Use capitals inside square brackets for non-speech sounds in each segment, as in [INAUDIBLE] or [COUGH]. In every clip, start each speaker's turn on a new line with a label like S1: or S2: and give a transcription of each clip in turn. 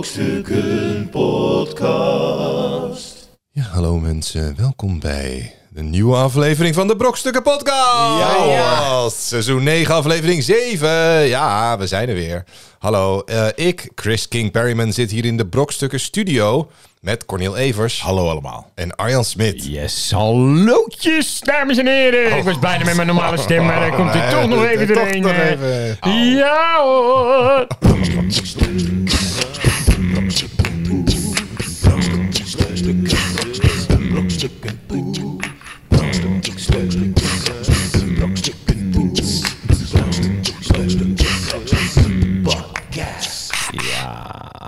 S1: Brokstukken Podcast.
S2: Ja, hallo mensen, welkom bij de nieuwe aflevering van de Brokstukken Podcast.
S1: Ja,
S2: Seizoen 9, aflevering 7. Ja, we zijn er weer. Hallo, eh, ik, Chris King Perryman, zit hier in de Brokstukken Studio met Cornel Evers
S1: Hallo allemaal.
S2: en Arjan Smit.
S3: Yes, hallootjes, dames en heren. Ik was bijna met mijn normale stem, maar daar komt hij
S2: Oh, Nee,
S3: toch nog
S2: dat-
S3: even
S2: toch
S3: doorheen.
S2: nog
S3: eh.
S2: even.
S3: Ja hoor.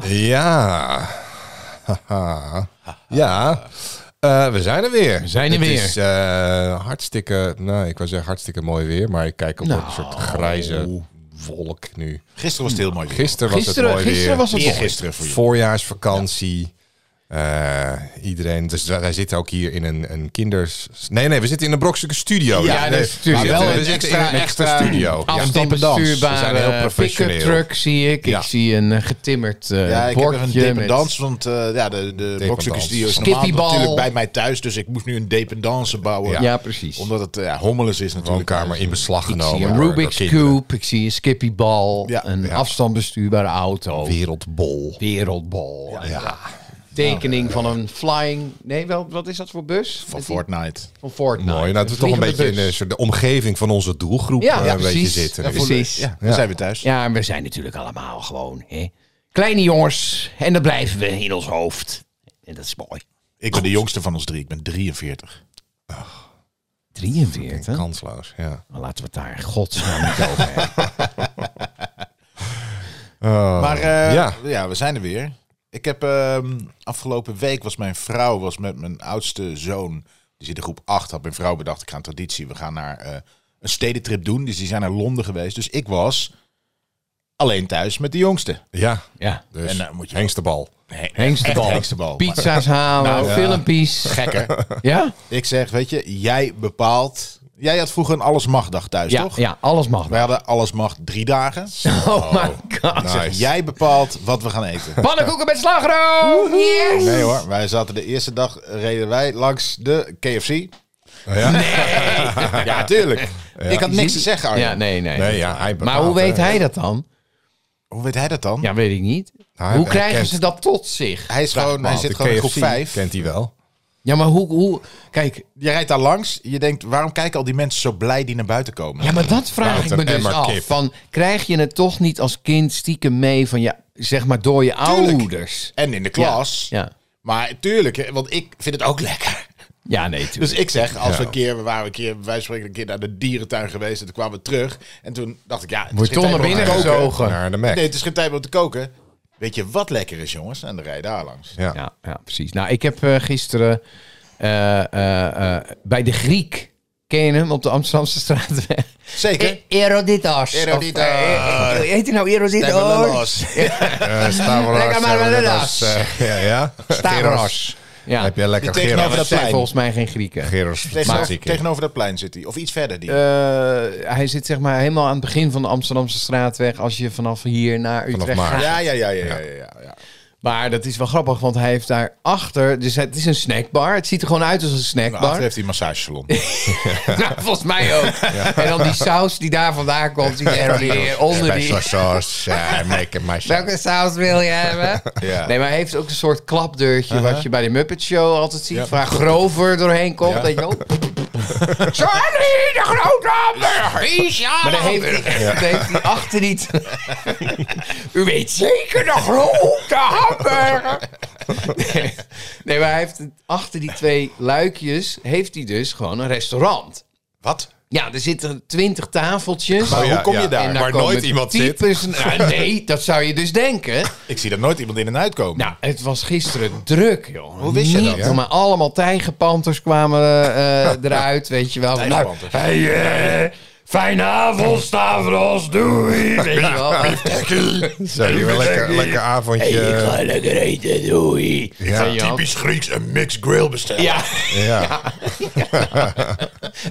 S2: Ja. Haha. ja. Eh, we zijn er weer. We
S3: zijn er
S2: Het
S3: weer.
S2: is eh, hartstikke, nou ik wou zeggen hartstikke mooi weer, maar ik kijk op
S3: Nou.
S2: een soort grijze wolk nu.
S1: Gisteren was het heel mooi. weer.
S2: Gisteren was
S3: Gisteren-
S2: het mooi
S3: gisteren
S2: weer.
S3: was het
S1: Weer
S3: mooi.
S1: gisteren voor jullie.
S2: Voorjaarsvakantie. Eh, iedereen, dus wij wij zitten ook hier in een, een kinders... Nee, nee, we zitten in een brokstukken studio.
S3: Ja, dat
S2: nee,
S3: is studio.
S2: We
S3: Maar
S2: zitten,
S3: wel
S2: we
S3: een
S2: zitten in
S3: extra-
S2: een extra,
S3: extra
S2: studio. Ja.
S3: Afstandsbestuurbare
S2: We zijn heel professioneel.
S3: pick-up truck zie ik.
S2: Ja.
S3: Ik zie een eh, getimmerd eh
S1: Ja, ik heb
S3: bordje
S1: een dependance,
S3: met-
S1: want eh, ja, de, de Brokstukken Studio is normaal
S3: Skippybal.
S1: natuurlijk bij mij thuis. Dus ik moest nu een dependance bouwen.
S3: Ja, precies.
S1: Omdat het eh, ja, hommeles is natuurlijk.
S2: Woonkamer in beslag
S3: Ik
S2: genomen.
S3: zie een
S2: door- door
S3: Rubik's
S2: kinderen.
S3: Cube, ik zie een Skippybal,
S1: Ja,
S3: een
S2: ja.
S3: afstandsbestuurbare auto,
S2: Wereldbol.
S3: wereldbal.
S2: Ja.
S3: Tekening van een flying... Nee, wel, wat is dat voor bus?
S1: eh, Van
S3: Met die-
S1: Fortnite.
S3: Van Fortnite.
S2: Mooi, nou, dat we toch een
S3: vliegende
S2: beetje in
S3: bus.
S2: de, soort de omgeving van onze doelgroep
S3: Ja,
S2: eh,
S3: ja,
S2: een beetje
S3: precies.
S2: zitten.
S3: Ja,
S2: nu.
S3: precies.
S1: Ja, dan zijn we thuis.
S3: Ja, en we zijn natuurlijk allemaal gewoon hè? kleine jongens. En dat blijven we in ons hoofd. En dat is mooi.
S1: Ik ben de jongste van ons drie. Ik ben 43.
S3: 43?
S2: Kansloos, ja.
S3: Maar Laten we het daar in godsnaam niet over hebben.
S1: Maar eh,
S2: ja.
S1: ja. we zijn er weer. Ik heb ehm, afgelopen week was mijn vrouw was met mijn oudste zoon. Die zit in groep 8. Had mijn vrouw bedacht, ik ga een traditie. We gaan naar eh, een stedentrip doen. Dus die zijn naar Londen geweest. Dus ik was alleen thuis met de jongste.
S2: Ja,
S3: Ja.
S2: dus
S1: En dan moet je-
S2: hengstebal.
S1: Nee,
S3: Hengstebal.
S1: echt hengstebal.
S3: Pizza's halen,
S1: Nou, ja.
S3: filmpjes.
S1: Gekker.
S3: Ja?
S1: ik zeg, weet je, jij bepaalt. Jij had vroeger een alles mag dag thuis,
S3: Ja,
S1: toch? Nou.
S3: ja, alles mag.
S1: Wij hadden alles mag drie dagen.
S3: Oh my god.
S1: Nou.
S2: Nice.
S1: Jij bepaalt wat we gaan eten.
S3: Pannenkoeken met slagroom! Yes!
S1: Nee oh, hoor, wij zaten de eerste dag reden wij langs de KFC.
S2: Ja? Nee,
S1: Ja, tuurlijk.
S3: [LAUGHS]
S1: Ik had niks te zeggen, Arjen.
S3: Ja, nee, nee.
S2: ja, hij bepaalt, eh,
S3: Maar hoe weet
S2: hè.
S3: hij dat dan?
S1: Hoe weet hij dat dan?
S3: Ja, weet ik niet.
S2: hij-
S3: hoe
S2: hij
S3: krijgen
S2: kent-
S3: ze dat tot zich?
S1: Hij, is gewoon, hij zit
S2: De
S1: gewoon in groep
S2: KFC
S1: 5.
S2: Kent hij wel.
S3: Ja, maar hoe... hoe... Kijk,
S1: Je rijdt daar langs. Je denkt, waarom kijken al die mensen zo blij die naar buiten komen?
S3: Ja, maar dat vraag
S2: Wouter
S3: ik me dus
S2: Emmer
S3: af.
S2: Kip.
S3: Van, krijg je het toch niet als kind stiekem mee van je, zeg maar, door je
S1: Tuurlijk.
S3: ouders?
S1: En in de klas.
S3: Ja.
S1: Maar tuurlijk, hè, want ik vind het ook lekker. [LAUGHS]
S3: Ja, nee, tuurlijk.
S1: Dus ik zeg, als we
S2: Ja.
S1: een keer, we waren een keer, wij spreken een keer naar de dierentuin geweest. En toen kwamen we terug. En toen dacht ik, ja, het is
S3: Wordt
S1: geen
S3: toch
S1: tijd
S3: naar
S1: om te
S3: binnen
S1: koken.
S3: gezogen.
S2: Naar de Mac.
S1: Nee, het is geen tijd om te koken. Weet je wat lekker is, jongens? En dan rij je daar langs.
S2: Ja.
S3: ja, ja, precies. Nou, ik heb eh, gisteren eh, eh, eh, bij de Griek, ken je hem, op de Amsterdamse straatweg?
S1: Zeker.
S3: E- Eroditos.
S1: Eroditos.
S3: Of, eh, eh, heet hij nou Eroditos? [LAUGHS]
S1: Los.
S2: Eh, Stavros,
S3: Lekker maar
S2: eh,
S3: wel
S2: dat
S3: las.
S2: is, eh, [LAUGHS] ja, ja. Geros.
S3: Stavros. Ja,
S2: Heb je lekker
S1: Die tegenover
S3: maar
S2: Geros.
S3: dat
S1: dat
S3: zijn
S1: plein.
S3: volgens mij geen Grieken.
S2: Geros.
S1: Tegenover,
S2: Matzik.
S1: tegenover dat plein zit hij. Of iets verder. Die.
S3: Eh, hij zit zeg maar helemaal aan het begin van de Amsterdamse straatweg. Als je vanaf hier naar Utrecht
S2: Maarsen.
S3: gaat.
S1: ja, ja, ja, ja, ja, ja, ja.
S3: Maar dat is wel grappig, want hij heeft daarachter... Dus het is een snackbar. Het ziet er gewoon uit als een
S1: Nou, achter
S3: snackbar.
S1: heeft hij een massagesalon.
S3: [LAUGHS] Nou, volgens mij ook. En dan die saus die daar vandaan komt, die er weer onder die...
S2: Special
S1: Oh,
S2: sauce. eh, Make it myself.
S3: Welke saus wil je hebben?
S1: Ja.
S3: Nee, maar hij heeft ook een soort klapdeurtje... wat je bij de Muppet Show altijd ziet.
S1: Ja.
S3: Waar Grover doorheen komt, weet je wel. Charlie, de grote hamburger! Wie is Maar dan heeft hij, [LAUGHS] dan heeft hij achter niet... [LAUGHS] U weet zeker de grote hamburger! Nee, nee, maar hij heeft het- achter die twee luikjes... heeft hij dus gewoon een restaurant.
S1: Wat?
S3: Ja, er zitten twintig tafeltjes.
S1: Maar
S2: Oh, ja,
S1: hoe kom je
S2: ja.
S1: daar?
S3: En
S2: waar
S3: komen
S2: nooit iemand zit.
S3: types- Nou, nee, dat zou je dus denken.
S1: Ik zie daar nooit iemand in en uit komen.
S3: Nou, het was gisteren druk, joh. Hoe
S1: wist je
S3: Niet
S1: dat?
S3: normaal. Maar allemaal tijgerpanters kwamen eh, eruit, weet je wel. Nou,
S1: Tijgerpanters.
S3: hey, eh, fijne avond, Stavros,
S1: [LAUGHS]
S3: doei. Weet je wel.
S2: Zo, hier een lekker, lekker avondje.
S3: lekker eten, doei.
S2: Ja.
S3: Weet je wel.
S1: Grieks een mixed grill bestellen.
S3: Ja,
S2: Ja.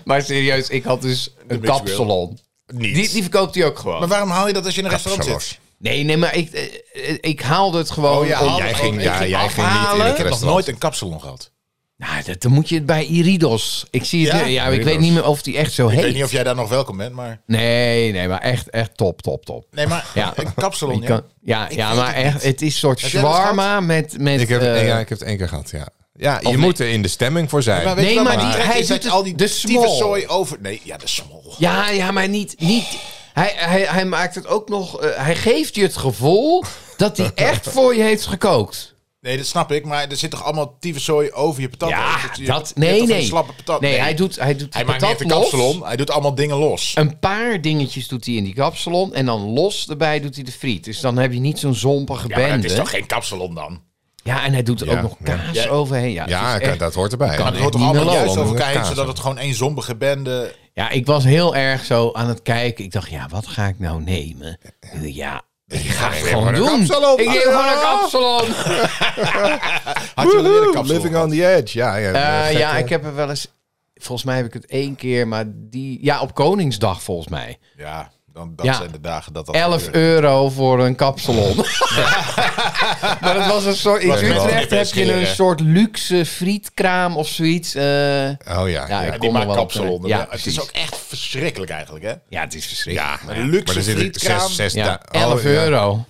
S3: maar serieus, ik had dus een
S1: mixed
S3: kapsalon.
S1: Niet.
S3: Die, die verkoopt hij ook gewoon.
S1: Maar waarom haal je dat als je in een restaurant
S2: Kapsalon.
S1: zit?
S3: Nee, nee, maar ik, eh, eh, ik haalde het gewoon.
S1: Oh ja,
S3: om-
S1: haalde
S2: jij
S1: het
S2: ging,
S1: gewoon.
S2: ja,
S1: Ik ging
S2: jij ging niet in
S3: afhalen.
S2: het
S1: Ik heb nog
S2: restaurant.
S1: nooit een kapsalon gehad.
S3: Nou, dat, dan moet je het bij Iridos. Ik zie het.
S1: Ja?
S3: Ja, ik
S2: Iridos.
S3: weet niet meer of die echt zo
S1: Ik
S3: heet.
S1: weet niet of jij daar nog welkom bent, maar...
S3: Nee, nee, maar echt, echt top, top, top.
S1: Nee, maar
S3: Ja.
S1: een kapsalon,
S3: Je
S1: ja.
S3: kan- ja,
S1: Ik
S3: ja
S1: weet
S3: maar
S1: het
S3: echt,
S1: niet.
S3: het is een soort
S1: Heb jij dat
S3: shawarma met... met
S2: Ik heb,
S3: eh,
S2: het- ja, ik heb het één keer gehad, ja. Ja, je
S3: nee.
S2: moet er in de stemming voor zijn.
S1: Maar weet
S3: Nee,
S1: je wat
S3: maar
S1: mijn
S3: die-
S1: trek
S3: hij
S1: is? Dat
S3: doet het-
S1: al die
S3: de small.
S1: tyfuszooi over... Nee, ja, de smol.
S3: ja, ja, maar niet... niet hij, hij, hij maakt het ook nog... eh, hij geeft je het gevoel dat
S1: [LAUGHS]
S3: hij echt voor je heeft gekookt.
S1: Nee, dat snap ik, maar er zit toch allemaal tyfuszooi over je patat?
S3: Ja,
S1: Je-
S3: dat...
S1: je- je hebt
S3: Nee,
S1: toch
S3: nee.
S1: een slappe patat?
S3: Nee, hij doet, hij doet hij
S1: Hij maakt niet
S3: patat
S1: de
S3: los.
S1: kapsalon, hij doet allemaal dingen los.
S3: Een paar dingetjes doet hij in die kapsalon. En dan los erbij doet hij de friet. Dus dan heb je niet zo'n zompige
S1: Ja, maar dat
S3: bende.
S1: is toch geen kapsalon dan?
S3: Ja, en hij doet er
S2: Ja,
S3: ook nog
S2: ja.
S3: kaas
S1: Ja.
S3: overheen. Ja, het
S2: ja,
S3: is echt-
S2: dat hoort erbij.
S1: Maar dat hoort toch
S2: Niet
S1: allemaal
S2: meer
S1: juist
S2: lol,
S1: over
S2: omdat
S1: elkaar heen,
S2: kaas
S1: zodat
S2: op.
S1: het gewoon één zombige bende...
S3: Ja, ik was heel erg zo aan het kijken. Ik dacht, ja, wat ga ik nou nemen? Ik dacht, Ja, ik ga het gewoon
S2: gewoon een
S3: doen.
S2: kapsalon.
S3: Ik neem gewoon een
S2: Ja.
S3: [LAUGHS] kapsalon.
S1: Had je wel weer een
S2: Woehoe,
S1: kapsalon
S2: Living
S1: gehad?
S2: on the edge. Ja, ja,
S3: Eh,
S2: gek,
S3: ja,
S2: hè?
S3: ik heb er wel eens... Volgens mij heb ik het één keer, maar die... Ja, op Koningsdag volgens mij.
S1: Ja, dan, dat
S3: Ja.
S1: zijn de dagen dat dat
S3: 11
S1: gebeurt.
S3: euro voor een [LAUGHS] kapsalon. maar het was een soort... In
S1: Was wel
S3: Utrecht
S1: even
S3: heb je een
S1: scheren.
S3: soort luxe frietkraam of zoiets. eh.
S2: Oh ja, ja.
S3: ik
S1: Ja,
S3: kom
S1: die
S3: er
S1: maakt
S3: wel op
S1: kapsalon.
S3: terug.
S1: Ja,
S3: Ja,
S1: het is
S3: precies.
S1: ook echt verschrikkelijk eigenlijk, hè?
S3: Ja, het is verschrikkelijk.
S1: Maar de luxe
S2: Maar er zitten
S1: frietkraam-
S2: zes, zes
S3: Ja,
S2: da- oh,
S3: 11
S2: ja.
S3: euro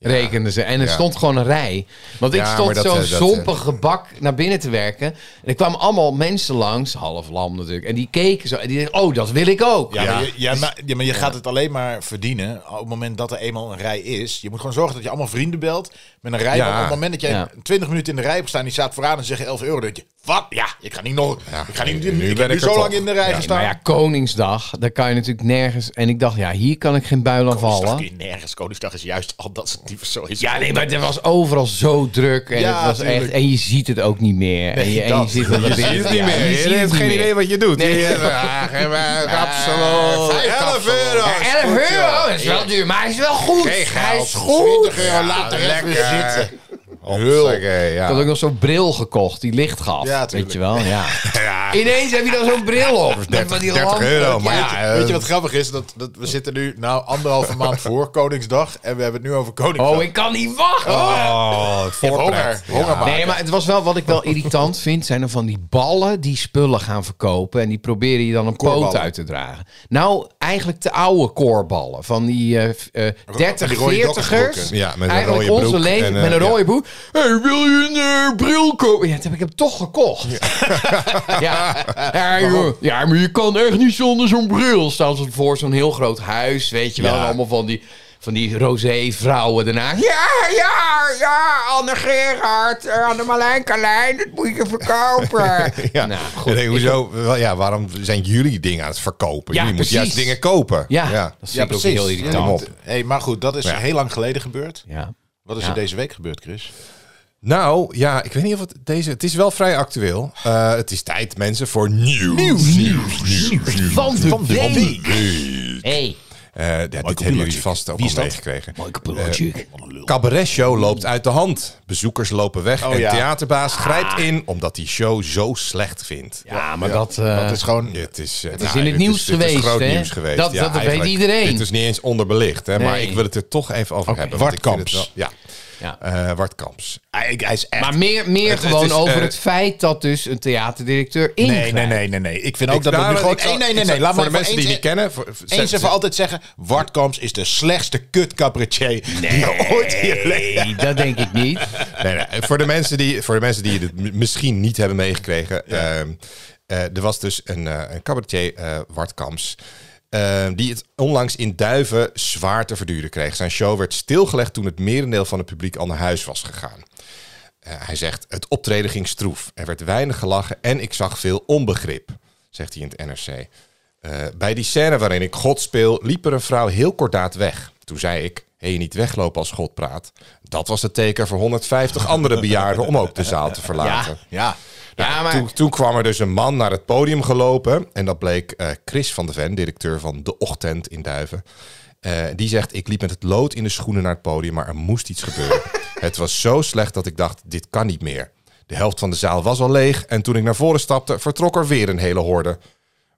S3: rekenden ze. En er
S2: Ja.
S3: stond gewoon een rij. Want ik
S2: Ja, maar
S3: stond
S2: dat,
S3: zo'n
S2: eh, dat,
S3: zompige bak naar binnen te werken. En er kwamen allemaal mensen langs, half lam natuurlijk. En die keken zo. En die dachten, oh, dat wil ik ook.
S1: Ja,
S2: Ja.
S1: Maar je, ja, maar, ja, maar je gaat het alleen maar verdienen op het moment dat er eenmaal een rij is. Je moet gewoon zorgen dat je allemaal vrienden belt met een rij.
S2: Ja.
S1: Want Op het moment dat jij
S3: Ja.
S1: 20 minuten in de rij hebt gestaan, die staat vooraan en zegt 11 euro. Dan denk je, wat? Ja, ik ga niet nog.
S2: Ja,
S1: ik ga niet,
S2: nu- nu
S1: ik
S2: ben
S1: heb
S2: ik
S1: nu
S2: er
S1: zo lang
S2: toch.
S1: in de rij
S2: Ja,
S1: gestaan.
S3: Maar ja, Koningsdag, daar kan je natuurlijk nergens... En ik dacht, ja, hier kan ik geen buil aan
S1: Koningsdag
S3: vallen.
S1: kun je nergens. Koningsdag is juist al dat soort type zo is.
S3: Ja, nee, maar er was overal zo druk. En,
S1: Ja,
S3: het was echt,
S1: tuurlijk.
S3: en je ziet het ook niet meer. en
S1: Nee,
S3: je, en je
S1: dat.
S3: zit wel naar binnen te- ja, je ziet
S2: Je
S3: het
S2: hebt
S3: niet
S2: geen
S3: meer.
S2: idee wat je doet.
S3: Nee.
S2: Je- Ah, geen- eh, Kapsalon.
S1: vijf
S2: 11
S1: kapsalon.
S2: euro.
S1: Ja,
S2: is
S3: 11
S2: goed, joh.
S3: euro is wel duur, maar hij is wel goed.
S2: Geen
S3: Hij
S2: geld.
S3: is goed.
S1: 20 euro later
S2: Ja,
S1: even
S2: lekker.
S1: zitten.
S2: Hupsakee,
S3: Ik had ook
S2: ja.
S3: nog zo'n bril gekocht die licht gaf.
S1: Ja,
S3: weet
S1: tuurlijk.
S3: je wel, ja.
S2: [LAUGHS] Ja,
S3: Ineens heb je dan zo'n bril op. Met
S2: 30,
S3: van die
S2: 30
S3: lampen.
S2: euro. Maar
S3: Ja.
S2: ja,
S1: Weet je
S2: eh,
S1: wat grappig is? Dat, dat we zitten nu
S2: [LAUGHS]
S1: nou anderhalve maand voor Koningsdag. En we hebben het nu over Koningsdag.
S3: Oh, ik kan niet wachten. Oh.
S2: Oh, het voorpret.
S1: honger. Honger maken.
S3: Nee, maar het was wel wat ik [LAUGHS] wel irritant vind. Zijn er van die ballen die spullen gaan verkopen. En die proberen je dan een poot
S1: Koorballen.
S3: uit te dragen. Nou, eigenlijk de oude koorballen. Van die eh v- eh, 30,
S1: rode
S3: 40ers.
S1: doktersbroeken.
S2: Ja, met een
S3: eigenlijk
S2: rode
S3: onze
S2: broek
S3: leeftijd.
S2: en, eh,
S3: met een
S2: ja.
S3: rode broek. hey, wil je een eh, bril kopen? Ja, dat heb ik hem toch gekocht. Ja.
S2: [LAUGHS]
S3: ja. joh. ja, maar je kan echt niet zonder zo'n bril. Staan ze voor zo'n heel groot huis. Weet je wel,
S2: Ja.
S3: allemaal van die... Van die rosé-vrouwen daarna. Ja, ja, ja, Anne Gerard, eh, Anne Malijnkalijn, dat moet je verkopen.
S2: [LAUGHS] Ja,
S3: Nou,
S2: Ik
S3: goed.
S2: denk, hoezo, wel, ja, waarom zijn jullie dingen aan het verkopen?
S3: Ja,
S2: jullie moeten juist
S3: precies.
S2: dingen kopen.
S3: Ja, dat
S1: Ja,
S3: vind ik ook
S1: precies.
S3: heel irritant.
S1: Ja, want- hey, maar goed, dat is
S2: Ja.
S1: heel lang geleden gebeurd.
S3: Ja.
S1: Wat is
S3: Ja.
S1: er deze week gebeurd, Chris?
S2: Nou, ja, ik weet niet of het deze... Het is wel vrij actueel. Eh, het is tijd, mensen, voor nieuws.
S1: Nieuws.
S2: nieuws, nieuws.
S3: Van de
S2: week.
S3: week. hey,
S2: Eh, ja, dit hebben jullie vast ook al meegekregen.
S3: mooi
S2: Eh,
S3: kapelotje.
S2: Cabaret-show loopt uit de hand. Bezoekers lopen weg
S1: Oh,
S2: en
S1: ja.
S2: theaterbaas grijpt in omdat die show zo slecht vindt.
S3: Ah. ja, maar dat... eh,
S1: dat is gewoon...
S2: Het is, eh, nou, dit
S3: in het nieuws
S2: dit
S3: geweest,
S2: groot
S3: hè?
S2: nieuws geweest.
S3: Dat- dat weet
S2: eigenlijk,
S3: iedereen.
S2: Dit is niet eens onderbelicht, hè? maar
S3: Nee.
S2: ik wil het er toch even over
S1: Oké.
S2: hebben. want ik vind het
S1: Wartkamps.
S2: wel-
S3: ja.
S2: Ja, Eh Wartkamps.
S1: Hij, hij is echt...
S3: Maar meer, meer
S2: Het- het
S3: gewoon
S2: is,
S3: over
S2: eh,
S3: het feit dat dus een theaterdirecteur in.
S1: nee, nee, nee, nee, nee. Ik vind ook dat we
S2: nou,
S1: nu gewoon...
S2: ik zal-
S1: Nee, nee, nee,
S2: ik zal-
S1: nee. Laat
S2: voor
S1: maar
S2: de mensen die
S1: eens-
S2: het niet kennen... Voor,
S1: Eens even altijd zeggen, Wartkamps is de slechtste kut cabaretier die je ooit in je leven...
S3: Nee, dat denk ik niet.
S2: [LAUGHS] nee, nee. Voor, de mensen die, voor de mensen die het m- misschien niet hebben meegekregen. ehm, eh, er was dus een, eh, een cabaretier, eh Wart Kamps. ehm, die het onlangs in Duiven zwaar te verduren kreeg. Zijn show werd stilgelegd toen het merendeel van het publiek al naar huis was gegaan. Eh, hij zegt, het optreden ging stroef. Er werd weinig gelachen en ik zag veel onbegrip, zegt hij in het NRC. Eh, bij die scène waarin ik God speel, liep er een vrouw heel kordaat weg. Toen zei ik, hé, niet weglopen als God praat. Dat was het teken voor 150 andere bejaarden om ook de zaal te verlaten.
S1: Ja.
S2: Nou,
S3: Ja, maar-
S2: toen, toen kwam er dus een man naar het podium gelopen. En dat bleek eh, Chris van de Ven, directeur van De Ochtend in Duiven. Eh, die zegt, ik liep met het lood in de schoenen naar het podium, maar er moest iets gebeuren. het was zo slecht dat ik dacht, dit kan niet meer. De helft van de zaal was al leeg en toen ik naar voren stapte, vertrok er weer een hele horde.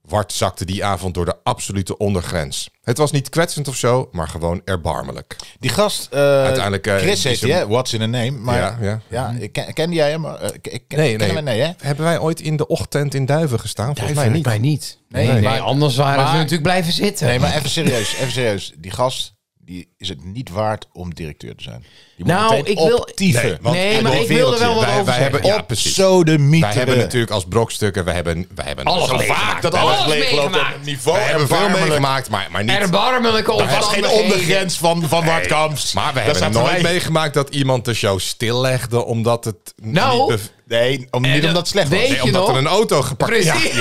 S2: Wart zakte die avond door de absolute ondergrens. Het was niet kwetsend of zo, maar gewoon erbarmelijk.
S1: Die gast, eh,
S2: Uiteindelijk, eh,
S1: Chris
S2: is
S1: heet
S2: hem-
S1: hij, hè? What's in a name? Maar
S2: Ja,
S1: ja,
S2: ja.
S1: ik ken, kende jij hem? Eh, Ik, ik ken,
S2: Nee, nee.
S1: Hem, nee, hè?
S2: Hebben wij ooit in de ochtend in Duiven gestaan? Volgens mij niet.
S3: Mij niet. Nee,
S2: Nee.
S3: maar anders waren ze
S1: maar-
S3: natuurlijk blijven zitten.
S1: Nee, maar even serieus, even serieus. Die gast, die is het niet waard om directeur te zijn. Die moet
S3: Nou,
S1: meteen
S3: ik wil-
S1: optieven.
S2: Nee, want-
S3: nee,
S1: en
S3: maar
S1: door
S3: ik wilde wel wat
S1: wereldje.
S2: Wij,
S3: over
S2: wij
S3: zeggen.
S2: hebben, ja, precies.
S1: Zo de mythe.
S2: Wij hebben natuurlijk als brokstukken, we hebben, wij hebben
S3: Alles
S2: zo
S3: meegemaakt.
S2: vaak
S3: Dat
S2: we
S3: alles
S2: hebben-
S3: meegemaakt.
S2: we hebben Niveau we hebben veel
S3: Oh, Erbarmelijk.
S2: meegemaakt, maar, maar niet.
S3: Erbarmelijke
S1: Er was geen
S3: omstandigheden.
S1: ondergrens van, van
S2: Nee.
S1: Wadkamps.
S2: Maar we
S1: Dat
S2: hebben
S1: zaten
S2: nooit
S1: wij-
S2: meegemaakt dat iemand de show stillegde omdat het
S3: Nou,
S2: niet bev-
S1: Nee, om, niet
S3: dat
S1: omdat het slecht was.
S3: weet
S1: Nee,
S2: nee,
S3: je
S2: omdat
S3: nog?
S2: er een auto gepakt [LAUGHS]
S3: Precies. [LAUGHS]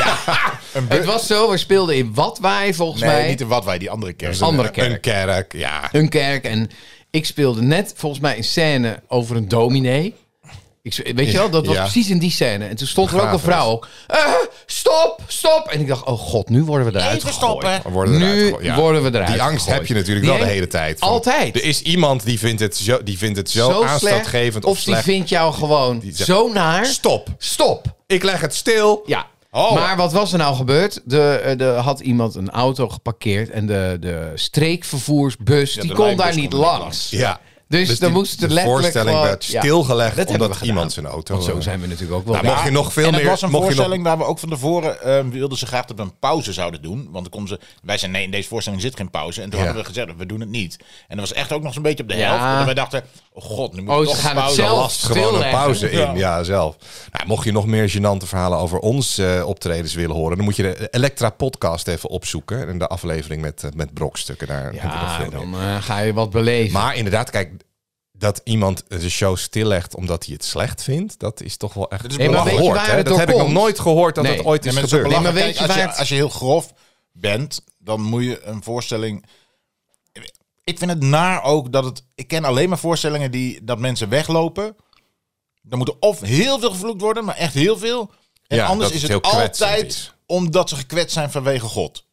S3: het was zo, we speelden in Watwaai volgens
S1: nee,
S3: mij.
S1: niet in wat wij, die andere kerst.
S3: Andere kerk.
S2: Een kerk, ja.
S3: Een kerk. En ik speelde net volgens mij een scène over een dominee. Ik, sp- weet je wel, dat was
S2: Ja.
S3: precies in die scène. En toen stond er ook een
S2: Begrafenis.
S3: vrouw. ook, "Eh, stop, stop. En ik dacht, oh god, nu worden we eruit gegooid.
S2: We Worden
S3: Nu
S2: eruit gegooid, ja.
S3: worden we eruit
S2: Die angst
S3: gegooid.
S2: heb je natuurlijk
S3: Die
S2: wel de
S3: hang-
S2: hele tijd. Van,
S3: Altijd.
S2: Er is iemand die vindt het zo, die vindt het zo,
S3: Zo
S2: aanstootgevend
S3: slecht.
S2: of
S3: Of die
S2: slecht.
S3: vindt jou gewoon
S2: zegt,
S3: zo naar.
S2: Stop.
S3: Stop.
S2: Ik leg het stil.
S3: Ja.
S2: Oh.
S3: Maar wat was er nou gebeurd? De, eh, de, had iemand een auto geparkeerd en de, de streekvervoersbus die
S1: de
S3: kon
S1: lijnbus
S3: daar niet
S1: kon er niet
S3: langs.
S2: Ja.
S3: Dus dan moest
S2: de
S3: er letterlijk
S2: voorstelling
S3: gewoon-
S2: werd
S3: ja.
S2: stilgelegd
S3: Dat hebben we
S2: omdat
S3: gedaan.
S2: iemand zijn auto.
S3: Want zo
S2: eh,
S3: zijn we natuurlijk ook wel.
S2: Nou, mocht je nog veel
S1: Ah, en het
S2: meer.
S1: was een
S2: mocht je nog-
S1: voorstelling waar we ook van tevoren ehm, wilden ze graag dat we een pauze zouden doen. Want dan konden ze, wij zeiden nee, in deze voorstelling zit geen pauze. En toen
S2: Ja.
S1: hadden we gezegd, we doen het niet. En dat was echt ook nog zo'n beetje op de
S3: Ja.
S1: helft. En wij dachten, oh god, nu moet
S3: Oh,
S1: we
S3: ze
S1: toch
S3: gaan
S1: een
S3: het
S1: pauze.
S3: zelf-
S2: last gewoon een
S3: stilleggen.
S2: pauze
S1: Ja.
S2: in. Ja, zelf. Nou, mocht je nog meer gênante verhalen over ons eh, optredens willen horen, dan moet je de Elektra podcast even opzoeken. En de aflevering met, eh, met brokstukken. Daar heb je nog
S3: Ja,
S2: veel meer.
S3: dan eh, ga je wat beleven.
S2: Maar inderdaad, kijk, dat iemand de show stillegt omdat hij het slecht vindt, dat is toch wel echt.
S1: is
S3: Nee, maar weet je
S2: gehoord,
S3: waar
S2: hè?
S3: het
S2: Dat
S3: door
S2: heb ik nog
S3: komt?
S2: nooit gehoord dat
S3: Nee.
S2: dat ooit
S1: Ja,
S2: is
S1: maar het is
S2: gebeurd.
S1: belachelijk.
S3: Nee, maar weet
S1: Kijk,
S3: je waar
S1: als, je,
S3: het-
S1: als je heel grof bent, dan moet je een voorstelling... Ik vind het naar ook dat het... Ik ken alleen maar voorstellingen die dat mensen weglopen. Dan moet er of heel veel gevloekt worden, maar echt heel veel. En
S2: Ja,
S1: anders
S2: dat
S1: is
S2: het
S1: het,
S2: heel kwetsend
S1: altijd
S2: is.
S1: omdat ze gekwetst zijn vanwege God.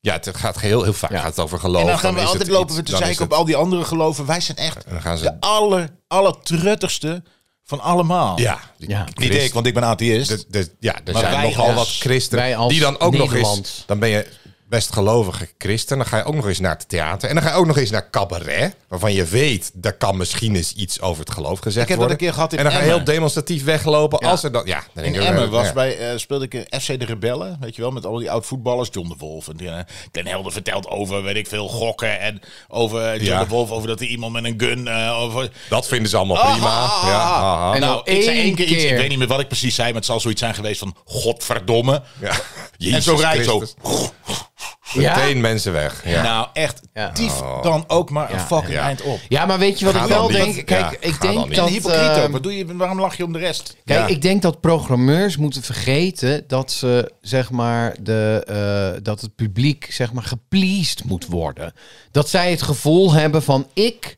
S2: Ja, het gaat heel, heel vaak
S3: Ja.
S2: gaat het over geloof.
S1: En dan gaan we
S2: is
S1: altijd
S2: het
S1: lopen we
S2: iets-
S1: te
S2: Oh, dan is
S1: zeiken op
S2: het-
S1: al die andere geloven. Wij zijn echt
S2: Dan gaan ze-
S1: de aller, allertruttigste van allemaal.
S2: Ja,
S3: Ja.
S1: Niet ik, want ik ben atheïst.
S2: Dus- dus- ja, er
S1: Maar
S2: zijn
S1: wij
S2: nogal
S1: als-
S2: wat
S3: wij
S2: christenen
S3: als
S2: die dan ook nog eens...
S3: Nederland.
S2: Dan ben je best gelovige christen. Dan ga je ook nog eens naar het theater. En dan ga je ook nog eens naar cabaret. Waarvan je weet, daar kan misschien eens iets over het geloof gezegd
S1: Ik heb dat
S2: worden.
S1: een keer gehad in
S2: en dan ga je heel
S1: Emmen.
S2: demonstratief weglopen. Als er dan... Ja, dan denk
S1: in
S2: je, eh,
S1: Emmen was
S2: ja.
S1: bij, eh, speelde ik in FC de Rebellen, weet je wel, met al die oud-voetballers. John de Wolf en eh, Den Helder vertelt over, weet ik veel, gokken en over eh, John
S2: Ja.
S1: de Wolf, over dat hij iemand met een gun... eh, over...
S2: Dat vinden ze allemaal prima.
S1: Ah, ah,
S2: Ja,
S1: ah.
S2: ah, ah.
S3: En
S1: nou,
S3: al
S1: ik zei
S3: één
S1: één keer, iets, ik
S3: keer.
S1: weet niet meer wat ik precies zei, maar het zal zoiets zijn geweest van, godverdomme.
S2: Ja.
S1: [LAUGHS] en
S2: Jezus
S1: zo rijdt zo.
S2: Christus. Meteen mensen weg. Ja.
S1: Nou, echt,
S3: Ja.
S1: dief dan ook maar een fucking
S2: ja.
S1: eind op.
S3: Ja, maar weet je wat
S2: Ga
S3: ik
S2: dan
S3: wel
S2: niet.
S3: denk? Kijk,
S2: Ja,
S3: ik
S2: ga dan
S3: denk
S2: niet.
S1: En
S3: dat...
S1: hypocriet ook.
S3: ehm,
S1: Wat doe je, waarom lach je om de rest?
S3: Kijk,
S2: Ja.
S3: ik denk dat programmeurs moeten vergeten dat ze zeg maar de eh, dat het publiek zeg maar gepleased moet worden. Dat zij het gevoel hebben van ik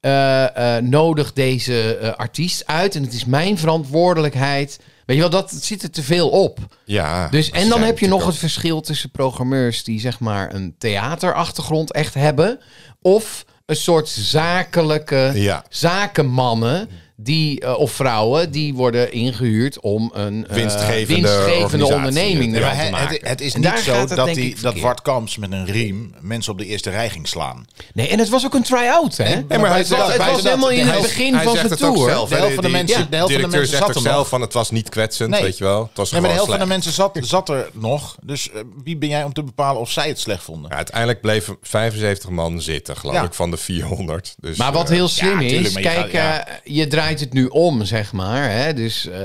S3: eh, eh, nodig deze eh, artiest uit en het is mijn verantwoordelijkheid. Weet je wel, dat zit er te veel op.
S2: Ja,
S3: Dus,
S2: ze
S3: en
S2: zijn
S3: dan heb je nog
S2: natuurlijk
S3: het verschil tussen programmeurs die zeg maar een theaterachtergrond echt hebben. Of een soort zakelijke
S2: ook- Ja.
S3: zakenmannen die, eh, of vrouwen die worden ingehuurd om een eh,
S2: Winstgevende
S3: winstgevende
S2: organisatie.
S3: onderneming
S2: Ja,
S1: Ja,
S3: ervan te
S1: maar het,
S3: maken.
S1: het- het is
S3: En
S1: niet
S3: daar
S1: zo
S3: gaat het
S1: dat,
S3: denk
S1: die,
S3: ik
S1: dat
S3: verkeerd.
S1: Wart Kamps met een riem mensen op de eerste rij ging slaan.
S3: Nee, en het was ook een try-out, hè?
S1: Nee, maar
S3: Want
S2: hij
S3: het
S2: zegt-
S3: was, het
S1: hij
S3: was
S1: zegt
S3: helemaal
S1: dat-
S3: in
S1: hij-
S3: het begin
S2: hij
S3: van
S2: zegt
S3: zijn
S2: het ook
S3: tour.
S2: zelf.
S1: De helft van de
S2: Die-
S1: mensen-
S2: die
S1: de helft van de
S2: directeur
S1: mensen
S2: zegt
S1: zat
S2: ook
S1: er nog.
S2: zelf van het was niet kwetsend,
S1: Nee.
S2: weet je wel. Het was
S1: Nee, maar
S2: gewoon
S1: de helft van de
S2: slecht.
S1: mensen zat, zat er nog. Dus eh, wie ben jij om te bepalen of zij het slecht vonden?
S2: Ja, uiteindelijk bleven 75 man zitten, geloof
S1: Ja.
S2: ik, van de 400. Dus,
S3: Maar wat
S2: eh,
S3: heel slim
S1: ja,
S3: is,
S1: tuurlijk, maar je
S3: kijk,
S1: gaat-
S3: eh, je draait het nu om, zeg maar. Hè? Dus eh,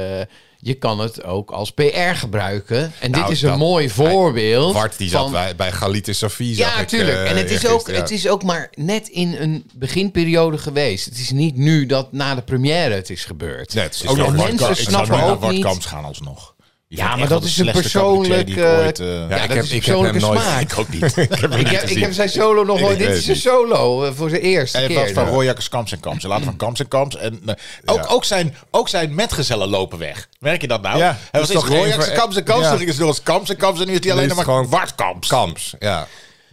S3: je kan het ook als PR gebruiken. En
S2: Nou,
S3: dit is
S2: dat-
S3: een mooi voorbeeld.
S2: Bart die zat
S3: van-
S2: bij, bij Galit en Sofie. zag
S3: Ja,
S2: ik,
S3: tuurlijk.
S2: eh,
S3: en het is, ook,
S2: eergisteren, ja.
S3: het is ook maar net in een beginperiode geweest. Het is niet nu dat na de première het is gebeurd.
S2: Nee, het is
S1: Ik
S2: ook
S1: zou
S2: nog
S3: mensen
S1: Bart Kamp- ik zou
S3: snappen
S1: nu naar
S3: ook
S1: Bart
S3: niet-
S1: Kamps gaan alsnog. Die
S3: Ja,
S1: vind ik
S3: maar
S1: echt
S3: dat
S1: wel
S3: is
S1: de
S3: een
S1: slechtste cabaretier die ik
S3: persoonlijke-
S1: ooit, eh,
S2: Ja,
S3: Ja,
S2: ik
S3: dat
S2: heb,
S3: is
S2: ik heb hem
S3: persoonlijke
S2: nooit...
S3: smaak.
S2: [LAUGHS] Ik ook niet. ik heb hem [LAUGHS]
S3: Ik
S2: niet
S3: heb,
S2: gezien.
S3: ik heb zijn solo nog nooit. Dit
S2: weet
S3: is zijn
S2: het
S3: solo eh, voor zijn eerste
S1: Hij was
S3: keer.
S1: van Royakkers, Kamps en Kamps. En later van Kamps en Kamps. En, eh, ook,
S2: Ja.
S1: ook, zijn, ook zijn metgezellen lopen weg. Merk je dat nou?
S2: Ja,
S1: Hij
S2: dat
S1: was
S2: is
S1: eerst
S2: toch één
S1: Royakkers,
S2: voor-
S1: Kamps en Kamps.
S2: Ja.
S1: Toen ging het door als Kamps en Kamps. En nu is hij
S2: Nu
S1: alleen
S2: is
S1: nog maar
S2: het gewoon
S1: Bart Kamps. [LAUGHS]
S2: Kamps, ja.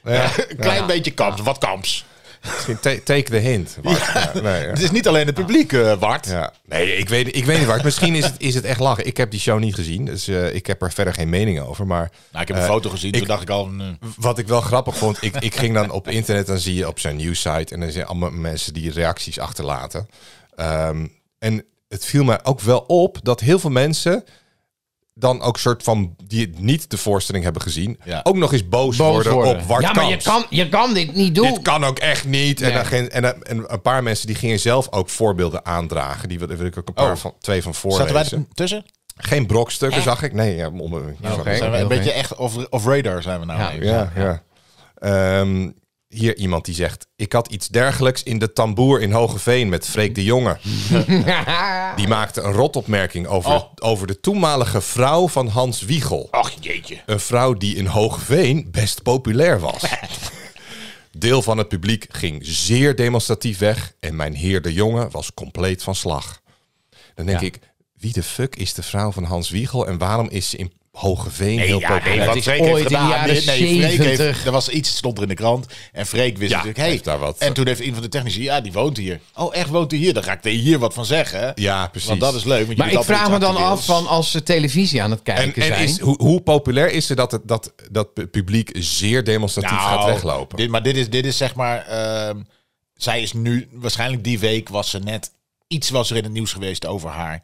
S2: Ja.
S1: Een klein beetje Kamps, wat Kamps.
S2: Misschien ta- take the hint. Bart. Ja,
S3: [LAUGHS]
S2: nee, ja.
S1: Het is niet alleen het publiek, eh Bart.
S2: Ja. Nee, ik weet, ik weet niet waar. Misschien is het, is het echt lachen. Ik heb die show niet gezien, dus eh, ik heb er verder geen mening over. Maar
S1: Nou, ik heb een
S2: Eh,
S1: foto gezien, toen
S2: ik-
S1: dacht ik al... nee.
S2: wat ik wel grappig vond, ik, ik ging dan op internet, dan zie je op zijn nieuwsite en dan zijn allemaal mensen die reacties achterlaten. Ehm, en het viel mij ook wel op dat heel veel mensen dan ook soort van die het niet de voorstelling hebben gezien,
S1: Ja.
S2: ook nog eens boos,
S1: Boos
S2: worden,
S1: worden.
S2: op Wart
S3: Ja, maar je
S2: Kamps.
S3: kan, je kan dit niet doen.
S2: Dit kan ook echt niet. En,
S3: Nee.
S2: dan ging- en, dan- en een paar mensen die gingen zelf ook voorbeelden aandragen. Die wil, daar wil ik ook een paar van, twee van
S1: Oh. Zaten
S2: voorlezen.
S1: wij er tussen?
S2: Geen brokstukken zag ik. Nee, ja, om, om- ja,
S1: Zijn we een
S3: heel
S1: beetje
S3: gek.
S1: echt off, off radar zijn we nou.
S3: Ja.
S1: even.
S2: ja, ja. Ehm, hier iemand die zegt... Ik had iets dergelijks in de tamboer in Hogeveen met Freek de Jonge.
S3: [LAUGHS]
S2: Die maakte een rotopmerking over,
S1: Oh.
S2: over de toenmalige vrouw van Hans Wiegel.
S1: Ach, jeetje.
S2: Een vrouw die in Hoogveen best populair
S1: [LAUGHS]
S2: was. Deel van het publiek ging zeer demonstratief weg en mijn heer de Jonge was compleet van slag. Dan denk ik, wie de fuck is de vrouw van Hans Wiegel en waarom is ze in Hogeveen heel
S1: ja,
S2: populair?
S1: nee, wat
S3: is
S1: Freek heeft
S3: ooit in de
S1: gedaan.
S3: jaren
S1: nee, nee, Freek
S3: 70.
S1: heeft, er was iets, stond er in de krant. En Freek wist
S2: Ja,
S1: natuurlijk, hey,
S2: heeft daar wat.
S1: En toen heeft een van de technici, ja, die woont hier. Oh, echt woont hij hier? Dan ga ik er hier wat van zeggen. hè?
S2: Ja, precies.
S1: Want dat is leuk. want
S3: Maar
S1: jullie
S3: ik vraag me
S1: hadden
S3: dan
S1: iets
S3: af van als ze televisie aan het
S2: En,
S3: kijken
S2: en
S3: zijn.
S2: is, hoe, hoe populair is ze dat het dat, dat pu- publiek zeer demonstratief
S1: Nou,
S2: gaat weglopen?
S1: Dit, maar dit is, dit is zeg maar. ehm, zij is nu. Waarschijnlijk die week was ze net. Iets was er in het nieuws geweest over haar.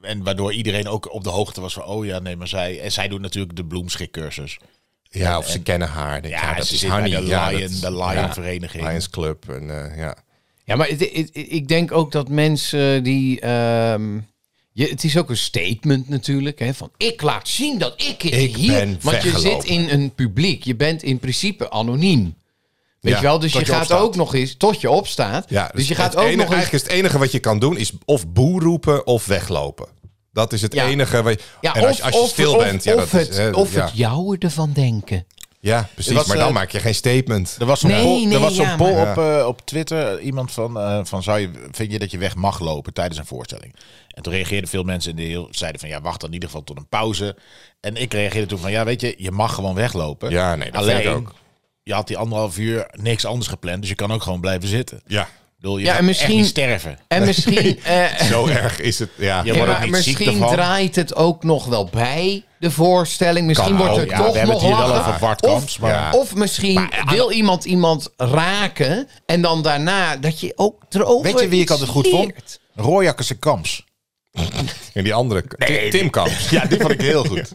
S1: En waardoor iedereen ook op de hoogte was van. Oh ja, nee, maar zij. En zij doet natuurlijk de bloemschikcursus.
S2: ja, of ze kennen haar. denk ik,
S1: Ja,
S2: dat
S1: ze
S2: is
S1: zit bij
S2: Hanny,
S1: de
S2: ja,
S1: Lion,
S2: dat-
S1: de Lion
S2: ja,
S1: Vereniging.
S2: Lions Club. En, eh, ja.
S3: Ja, maar het- het- ik denk ook dat mensen die. ehm, je, het is ook een statement natuurlijk. Hè, van ik laat zien dat ik, het
S2: Ik
S3: hier.
S2: ben
S3: want je zit
S2: weggelopen.
S3: in een publiek. Je bent in principe anoniem. Weet
S2: Ja,
S3: je wel? Dus je,
S2: tot je
S3: gaat
S2: opstaat.
S3: ook nog eens. Tot je opstaat.
S2: Ja,
S3: dus, je gaat
S2: het
S3: ook
S2: enige-
S3: nog eens.
S2: Eigenlijk is het enige wat je kan doen is of boe roepen of weglopen. Dat is het
S3: Ja.
S2: enige. Wat je,
S3: Ja,
S2: en als, je- als je
S3: of-
S2: stil
S3: of-
S2: bent, ja,
S3: of
S2: dat
S3: het,
S2: is, hè,
S3: of
S2: ja.
S3: het jouwe ervan
S2: [LAUGHS]
S3: denken.
S2: ja, precies.
S1: was,
S2: maar dan
S1: eh,
S2: maak je geen statement.
S1: Er was zo'n
S3: Nee,
S1: poll,
S3: nee,
S1: er was zo'n
S3: ja,
S1: poll
S2: maar-
S1: op, eh, op Twitter. Iemand van, eh, van zou je, vind je dat je weg mag lopen tijdens een voorstelling? En toen reageerden veel mensen in de heel, zeiden van ja, wacht dan in ieder geval tot een pauze. En ik reageerde toen van ja, weet je, je mag gewoon weglopen.
S2: Ja, nee, dat
S1: Alleen,
S2: vind ik ook.
S1: je had die anderhalf uur niks anders gepland, dus je kan ook gewoon blijven zitten. Ik
S2: Ja,
S1: bedoel, je
S3: Ja,
S1: gaat
S3: en misschien-
S1: echt niet sterven.
S3: En misschien. eh,
S2: [LAUGHS] zo erg is het. Ja,
S1: Ja,
S2: ja,
S1: maar- wordt
S3: Ja,
S1: ook niet ziek
S3: misschien
S1: ervan.
S3: draait het ook nog wel bij de voorstelling. Misschien
S2: Kan
S3: wordt
S2: ook,
S3: er
S1: ja,
S3: toch
S1: we hebben
S3: nog
S1: het hier wel
S3: lachen.
S1: over Bart Kamps,
S3: Of,
S1: maar- eh,
S2: Ja.
S3: of misschien wil iemand iemand raken en dan daarna dat je ook erover
S1: Weet je wie ik
S3: iets
S1: altijd goed vond?
S3: leert.
S1: Rooijakkers en Kamps.
S2: en die andere, Tim, Tim [LAUGHS] Kamps.
S1: Ja, die vond ik heel goed.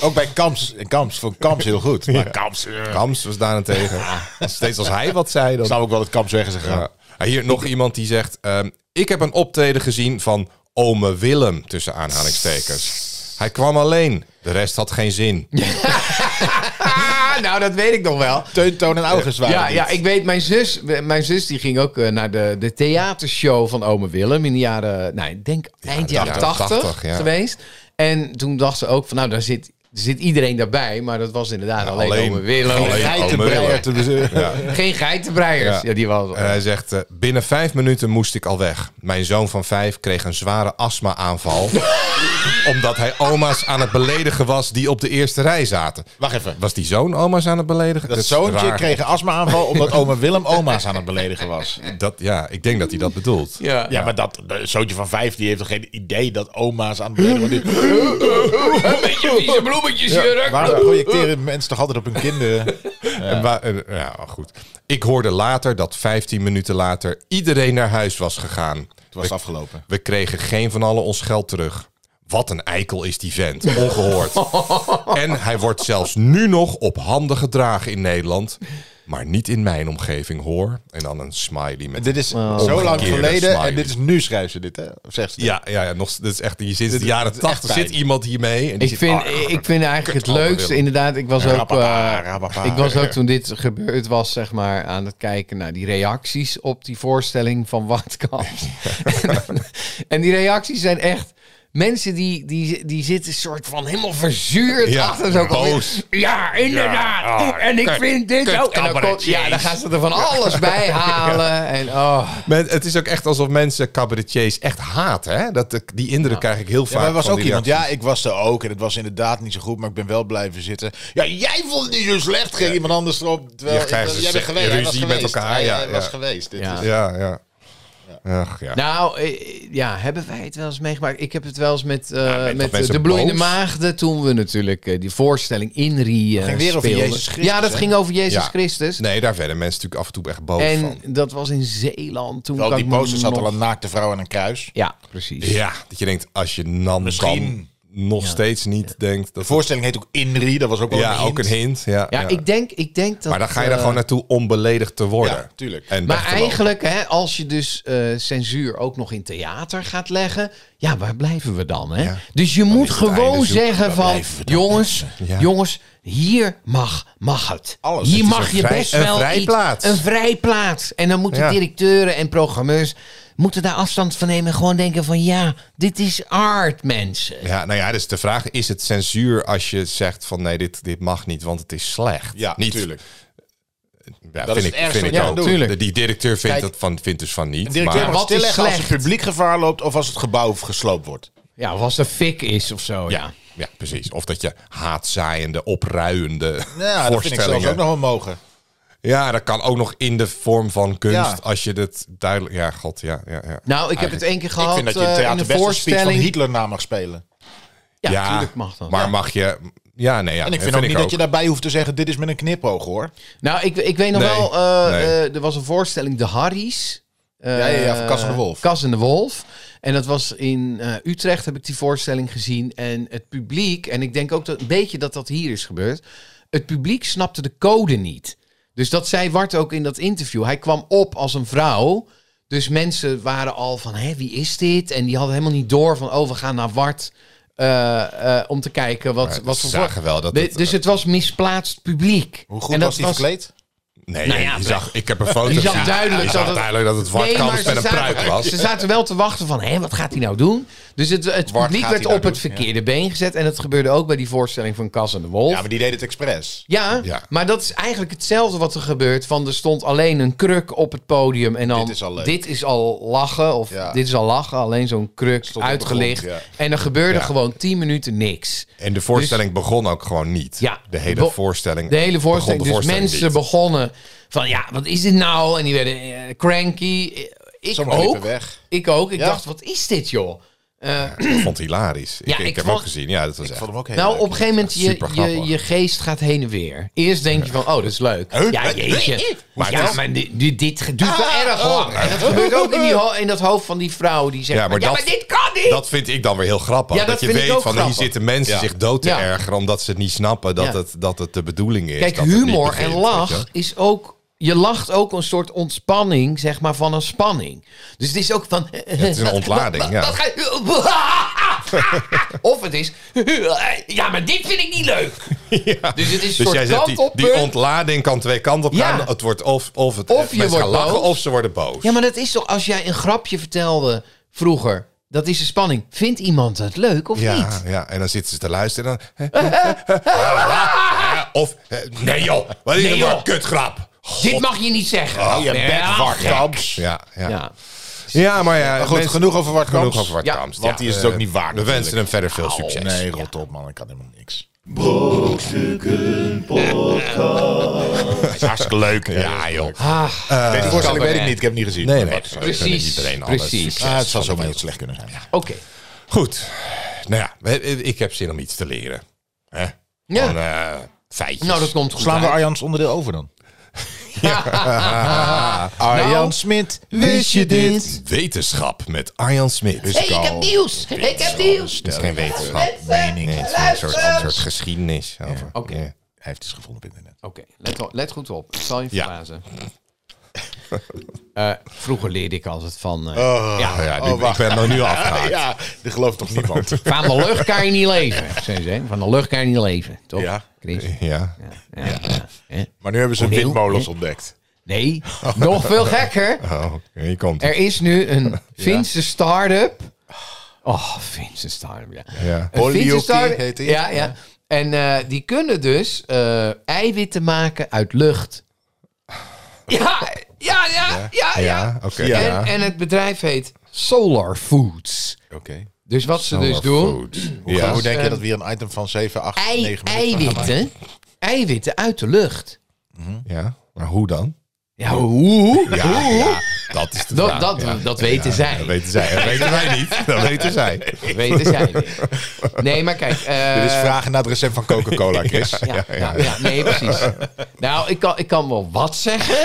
S1: Ook bij Kamps. En Kamps vond Kamps heel goed. Maar Kamps... eh,
S2: Kamps was daarentegen. Steeds als hij wat zei, dan...
S1: Zou ook wel het Kamps weg is gegaan.
S2: Ja. Ah, Hier nog iemand die zegt... ehm, ik heb een optreden gezien van ome Willem, tussen aanhalingstekens. Hij kwam alleen. De rest had geen zin.
S3: Ah, nou dat weet ik nog wel.
S1: Teun, Toon en August waren
S3: Ja,
S1: dit.
S3: ja, ik weet, mijn zus, mijn zus die ging ook eh, naar de, de theatershow van Ome Willem in de jaren, nou, ik denk eind
S2: de
S3: jaren
S2: jaren
S3: 80,
S2: 80, ja.
S3: geweest. En toen dacht ze ook van, nou, daar zit, zit iedereen daarbij, maar dat was inderdaad alleen,
S2: alleen-
S3: Ome Willem.
S2: alleen-
S1: Geitenbreier te bezorgen.
S3: Geen geitenbreiers.
S2: Ja.
S3: Ja, die was
S2: En hij zegt, eh, binnen vijf minuten moest ik al weg. Mijn zoon van vijf kreeg een zware astma-aanval. omdat hij oma's aan het beledigen was die op de eerste rij zaten.
S1: Wacht even.
S2: Was die zoon oma's aan het beledigen?
S1: Dat
S2: is
S1: zoontje
S2: raar.
S1: kreeg een
S2: [LAUGHS]
S1: astma-aanval omdat oma Willem oma's aan het beledigen was.
S2: Dat, ja, ik denk dat hij dat bedoelt.
S3: Ja.
S1: Ja, maar dat de zoontje van vijf die heeft toch geen idee dat oma's aan het beledigen worden.
S3: vieze bloemetjes,
S1: Waarom projecteren mensen toch altijd op hun kinderen? Eh,
S2: En wa- en- ja, goed. Ik hoorde later dat 15 minuten later iedereen naar huis was gegaan.
S1: Het was afgelopen.
S2: We kregen geen van allen ons geld terug. Wat een eikel is die vent.
S1: [LAUGHS]
S2: Ongehoord. en hij wordt zelfs nu nog op handen gedragen in Nederland. Maar niet in mijn omgeving hoor. En dan een smiley met...
S1: Dit is zo lang
S2: Omgekeerde
S1: geleden
S2: smiley.
S1: en dit is nu schrijft ze dit, hè? Of zegt ze dit?
S2: Ja, ja, ja nog, dit is echt, hier sinds de jaren
S1: echt
S2: 80 zit
S1: pijn.
S2: iemand hiermee. En die
S3: Ik
S2: zit,
S3: vind,
S2: ah,
S3: ik vind eigenlijk het
S2: Ome
S3: leukste,
S2: Willem.
S3: inderdaad, ik was ook... eh,
S1: Rababa, rababa.
S3: ik was ook toen dit gebeurd was, zeg maar, aan het kijken naar die
S2: [LAUGHS]
S3: reacties op die voorstelling van Watkamp. en die reacties zijn echt Mensen die, die, die zitten soort van helemaal verzuurd
S2: Ja,
S3: achter zo'n
S2: boos.
S3: Ja, inderdaad.
S2: Ja, ah,
S3: en ik
S2: kut,
S3: vind dit
S2: kut
S3: ook. En dan, komt-
S2: cabaretiers.
S3: ja, dan gaan ze er van alles bij halen. En oh.
S2: Men, het is ook echt alsof mensen cabaretiers echt haten. Hè? Dat, de- die indruk krijg ik heel vaak.
S1: Ja, maar er was
S2: van
S1: ook
S2: die
S1: iemand,
S2: reacties.
S1: ja, ik was er ook en het was inderdaad niet zo goed, maar ik ben wel blijven zitten. Ja, jij vond het niet zo slecht, ging iemand anders erop. Terwijl
S2: Je
S1: ik-
S2: krijgt dus
S1: jij bent
S2: een
S1: geweest, hij was
S2: ruzie met
S1: geweest.
S2: elkaar,
S1: Hij,
S2: ja,
S1: eh,
S2: ja.
S1: was geweest. Dit
S3: Ja.
S1: is-
S2: Ja, ja. Ach, ja.
S3: Nou, eh, ja, hebben wij het wel eens meegemaakt? Ik heb het wel eens met, eh,
S2: dat
S3: met eh,
S2: mensen
S3: de Bloeiende
S2: boos-
S3: Maagden. Toen we natuurlijk eh, die voorstelling Inri eh
S1: ging weer over
S3: speelden.
S1: Jezus Christus,
S3: Ja, dat
S1: hè?
S3: ging over Jezus
S2: Ja.
S3: Christus.
S2: Nee, daar werden mensen natuurlijk af en toe echt boos
S3: en
S2: van.
S3: dat was in Zeeland. Toen
S1: Wel,
S3: kan
S1: die
S3: ik me
S1: poster zat
S3: nog-
S1: al een naakte vrouw en een kruis.
S3: Ja, precies.
S2: Ja, dat je denkt, als je nan
S1: Misschien.
S2: kan, nog steeds niet denkt. Dat
S1: De voorstelling heet ook Inri, dat was ook wel
S2: ja,
S1: een hint.
S2: ook een hint. Ja,
S3: Ja,
S2: ja.
S3: Ik, denk, ik denk dat...
S2: maar dan ga je daar
S3: eh,
S2: gewoon naartoe om beledigd te worden.
S1: Ja, tuurlijk.
S2: En weg
S3: Maar
S2: te lopen.
S3: eigenlijk, hè, als je dus eh, censuur ook nog in theater gaat leggen, ja, waar blijven we dan? Hè?
S2: Ja.
S3: Dus je moet
S2: is het
S3: gewoon
S2: einde zoek.
S3: zeggen
S1: Waar
S3: van,
S1: blijven we dan,
S3: jongens,
S2: Ja.
S3: jongens, hier mag, mag het.
S1: Alles.
S3: Hier
S1: Het
S2: is
S3: mag
S2: een
S3: je
S2: vrij-
S3: best
S2: een
S3: wel
S2: vrijplaats.
S3: Iets, een vrijplaats. En dan moeten
S2: Ja.
S3: directeuren en programmeurs moeten daar afstand van nemen en gewoon denken van, ja, dit is art, mensen.
S2: Ja, nou ja, dus de vraag is het censuur als je zegt van nee, dit, dit mag niet, want het is slecht.
S1: Ja,
S2: niet,
S1: natuurlijk.
S2: Ja,
S1: Dat
S2: vind ik,
S1: is het ergste
S2: vind ik
S1: wat je
S2: ook.
S1: kan
S3: doen.
S2: De- Die directeur vindt,
S1: Kijk,
S2: dat van, vindt dus van niet.
S1: De directeur
S2: maar,
S1: mag
S3: wat is
S1: stilleggen als het
S3: slecht?
S1: publiek gevaar loopt of als het gebouw gesloopt wordt.
S3: Ja, of als er fik is of zo, Oh, ja.
S2: ja, ja, precies. Of dat je haatzaaiende, opruiende
S1: Ja, dat vind ik zelfs
S2: voorstellingen...
S1: ook nog wel mogen.
S2: Ja, dat kan ook nog in de vorm van kunst,
S1: Ja.
S2: als je het duidelijk... Ja, god, ja, ja, ja.
S3: Nou, ik heb
S2: Eigenlijk.
S3: het één keer
S1: Ik
S3: gehad
S1: vind dat je in
S3: eh,
S1: theater
S3: een
S1: best een speech van
S3: voorstelling.
S1: Hitler na mag spelen.
S3: ja,
S2: Ja,
S3: natuurlijk mag dat.
S2: Maar mag je... Ja, nee, ja.
S1: En ik vind ook niet dat je daarbij hoeft te zeggen, dit is met een knipoog hoor.
S3: Nou, ik, ik weet nog
S2: Nee,
S3: wel, eh,
S2: nee.
S3: eh, er was een voorstelling, De Harry's. Eh,
S1: Ja, ja, ja, van Cas en de Wolf.
S3: Cas en de Wolf. En dat was in eh, Utrecht, heb ik die voorstelling gezien. En het publiek, en ik denk ook dat, een beetje dat dat hier is gebeurd. Het publiek snapte de code niet. Dus dat zei Wart ook in dat interview. Hij kwam op als een vrouw. Dus mensen waren al van, hé, wie is dit? En die hadden helemaal niet door van, oh, we gaan naar Wart. eh, eh, om te kijken wat,
S2: Ze
S3: wat voor...
S2: zagen wel dat
S3: De-
S2: het,
S3: dus het was misplaatst publiek.
S1: eh, Hoe goed
S3: en
S1: was die verkleed?
S2: Nee,
S3: Nou ja,
S2: je zag, ik heb een foto
S3: je zag
S2: gezien.
S3: duidelijk
S2: je
S3: dat
S2: zag
S3: het-
S2: duidelijk dat het Wart
S3: Nee,
S2: Kamps
S3: maar
S2: met
S3: ze
S2: een pruik
S3: zaten-
S2: was.
S3: Ze zaten wel te wachten van, hé, wat gaat hij nou doen? Dus het, het
S1: Wart
S3: publiek
S1: gaat
S3: werd
S1: hij nou
S3: op het
S1: doen,
S3: verkeerde been gezet. En dat gebeurde ook bij die voorstelling van Cas en de Wolf.
S1: Ja,
S3: Ja,
S1: maar die deed het expres.
S2: Ja.
S3: maar dat is eigenlijk hetzelfde wat er gebeurt. Van er stond alleen een kruk op het podium. En dan,
S1: Dit is al leuk.
S3: dit is al lachen. Of
S1: Ja.
S3: dit is al lachen. Alleen zo'n kruk
S1: Stond op de
S3: uitgelicht.
S1: grond,
S3: En er gebeurde
S2: Ja.
S3: gewoon 10 minuten niks.
S2: En de voorstelling begon ook gewoon niet.
S3: Ja.
S2: de hele
S3: Bo-
S2: voorstelling.
S3: De hele voorstelling.
S2: begon de
S3: dus
S2: voorstelling
S3: mensen
S2: niet.
S3: begonnen van ja, wat is dit nou? En die werden eh, cranky. Ik
S1: Sommigen
S3: ook.
S1: liepen weg.
S3: Ik ook. Ik
S1: Ja.
S3: dacht, wat is dit joh? Eh,
S2: Ik vond het hilarisch.
S3: Ja,
S2: ik, ik
S3: ik
S2: heb
S3: vond-
S2: hem ook gezien. Ja, dat was
S1: Ik
S2: echt.
S1: vond hem ook heel
S3: nou,
S1: leuk.
S3: op een gegeven moment, je,
S2: Super
S3: je,
S2: grappig.
S3: je geest gaat heen en weer. Eerst denk je van, oh, dat is leuk.
S1: Huh?
S3: Ja, jeetje. Maar,
S2: Maar het
S3: ja,
S2: is-
S3: maar dit, dit- dit duurt
S1: Ah,
S3: wel erg
S1: oh.
S3: lang. En dat gebeurt ook in, die ho- in dat hoofd van die vrouw die zegt,
S2: Ja, maar
S3: ja,
S2: dat-
S3: maar dit kan niet!
S2: Dat vind ik dan weer heel grappig.
S3: Ja, dat
S2: je
S3: vind ik
S2: weet
S3: ook
S2: van
S3: grappig.
S2: hier zitten mensen
S1: Ja.
S2: zich dood te
S3: Ja.
S2: ergeren omdat ze het niet snappen dat,
S3: Ja.
S2: het, dat het de bedoeling is.
S3: Kijk,
S2: dat het niet
S3: humor
S2: begint,
S3: en
S2: weet je wel.
S3: lach is ook. Je lacht ook een soort ontspanning, zeg maar, van een spanning. Dus het is ook van.
S2: is
S3: [LAUGHS]
S2: een ontlading, ja.
S3: Wat ga- [LAUGHS] of het is. [LAUGHS] Ja, maar dit vind ik niet leuk.
S2: Ja.
S3: Dus het is een
S2: Dus
S3: soort
S2: jij zegt, die, die
S3: kantelpunt.
S2: ontlading kan twee kanten op
S3: Ja.
S2: gaan. Het wordt of, of, het,
S3: Of je
S2: mensen
S3: wordt
S2: gaan lachen
S3: boos.
S2: of ze worden boos.
S3: Ja, maar dat is toch. Als jij een grapje vertelde vroeger, dat is een spanning. Vindt iemand het leuk of
S2: ja,
S3: niet?
S2: ja, en dan zitten ze te luisteren. En dan, of, eh, nee joh, wat is
S3: Nee,
S2: nee,
S3: joh.
S2: een kutgrap.
S3: Dit mag je niet zeggen.
S1: Oh, je
S3: Ja,
S1: bent Wart
S3: gek.
S1: Kamps.
S2: Ja, ja. ja.
S3: Ja.
S2: maar ja,
S1: Maar goed,
S2: mensen-
S1: genoeg over eh, Wart Kamps.
S2: genoeg over Bart
S3: Ja,
S2: Kamps.
S1: Want die is het ook niet waard,
S2: eh, We wensen hem
S1: natuurlijk.
S2: verder
S3: Oh,
S2: veel
S1: Au,
S2: succes.
S1: Nee, rot op man, ik kan helemaal niks.
S2: is hartstikke leuk. Ja, joh.
S3: Ah,
S1: Deze voorstelling weet ik
S3: eh,
S1: niet, ik heb hem niet gezien.
S2: Nee,
S1: Maar
S2: nee.
S1: wat-
S2: we gunnen iedereen alles.
S3: precies.
S2: Succes.
S1: Ah, het zal zomaar heel slecht kunnen zijn.
S3: oké.
S2: oh, Goed. Nou ja, we- ik heb zin om iets te leren. Hè?
S3: Ja.
S2: Gewoon, eh, feitjes.
S3: Nou, dat komt goed.
S1: Slaan we
S3: uit.
S1: Arjans onderdeel over dan?
S3: Arjan Nou.
S1: Smit,
S2: Wetenschap met Arjan Smit.
S1: Dus
S2: Het
S3: Hey, ik heb nieuws. Ik heb nieuws.
S2: is geen wetenschap.
S1: Mensen, mening.
S2: Nee, het is een
S1: luister
S2: soort, een soort geschiedenis. over.
S3: Oké.
S2: Ja.
S1: Hij heeft iets gevonden op internet.
S3: Oké, let, o- let goed op. Ik zal je
S2: Ja.
S3: verbazen. Eh, vroeger leerde ik altijd van... eh
S2: Oh
S3: ja,
S2: ja, nu, ik ben er
S1: [LAUGHS]
S2: nu afgehaakt.
S1: Ja, dat gelooft toch niemand?
S3: van de lucht kan je niet leven. zei ze, hè? Van de lucht kan je niet leven, toch?
S1: Ja.
S3: Chris?
S2: Ja.
S3: Ja, ja, hè?
S1: [LAUGHS] Maar nu hebben ze
S3: Opnieuw?
S1: windmolens ontdekt.
S3: Nee, nog veel gekker.
S2: Oh, hier komt
S3: [LAUGHS] Er is nu een Finse start-up Oh, Vincent Steinem, ja.
S2: Ja.
S3: Een
S1: Hollyoakie
S3: fietsenstang-
S1: heet die.
S3: Ja, ja. En eh, die kunnen dus eh, eiwitten maken uit lucht. Ja, ja, ja, ja, ja.
S2: Ja, oké.
S1: Ja.
S3: En, en het bedrijf heet Solar Foods.
S1: Oké.
S3: Dus wat ze dus doen,
S1: Hoe,
S2: Ja.
S1: hoe denk je
S3: Ehm,
S1: dat we hier een item van 7, 8,
S3: ei-
S1: 9 minuten van gaan maken?
S3: eiwitten, eiwitten uit de lucht.
S2: Ja, maar hoe dan?
S3: Ja, hoe?
S2: Ja, ja, dat is de
S3: Dat,
S2: vraag.
S3: dat,
S2: Ja.
S3: dat weten zij.
S2: Dat weten zij. Dat weten wij
S3: [LAUGHS]
S2: niet. Dat weten zij.
S3: Dat weten zij niet. Nee, maar kijk. eh,
S1: Dit is vragen naar het recept van [LAUGHS] Coca-Cola, Chris.
S3: Ja, ja, ja, nee, precies. nou, ik kan, ik kan wel wat zeggen.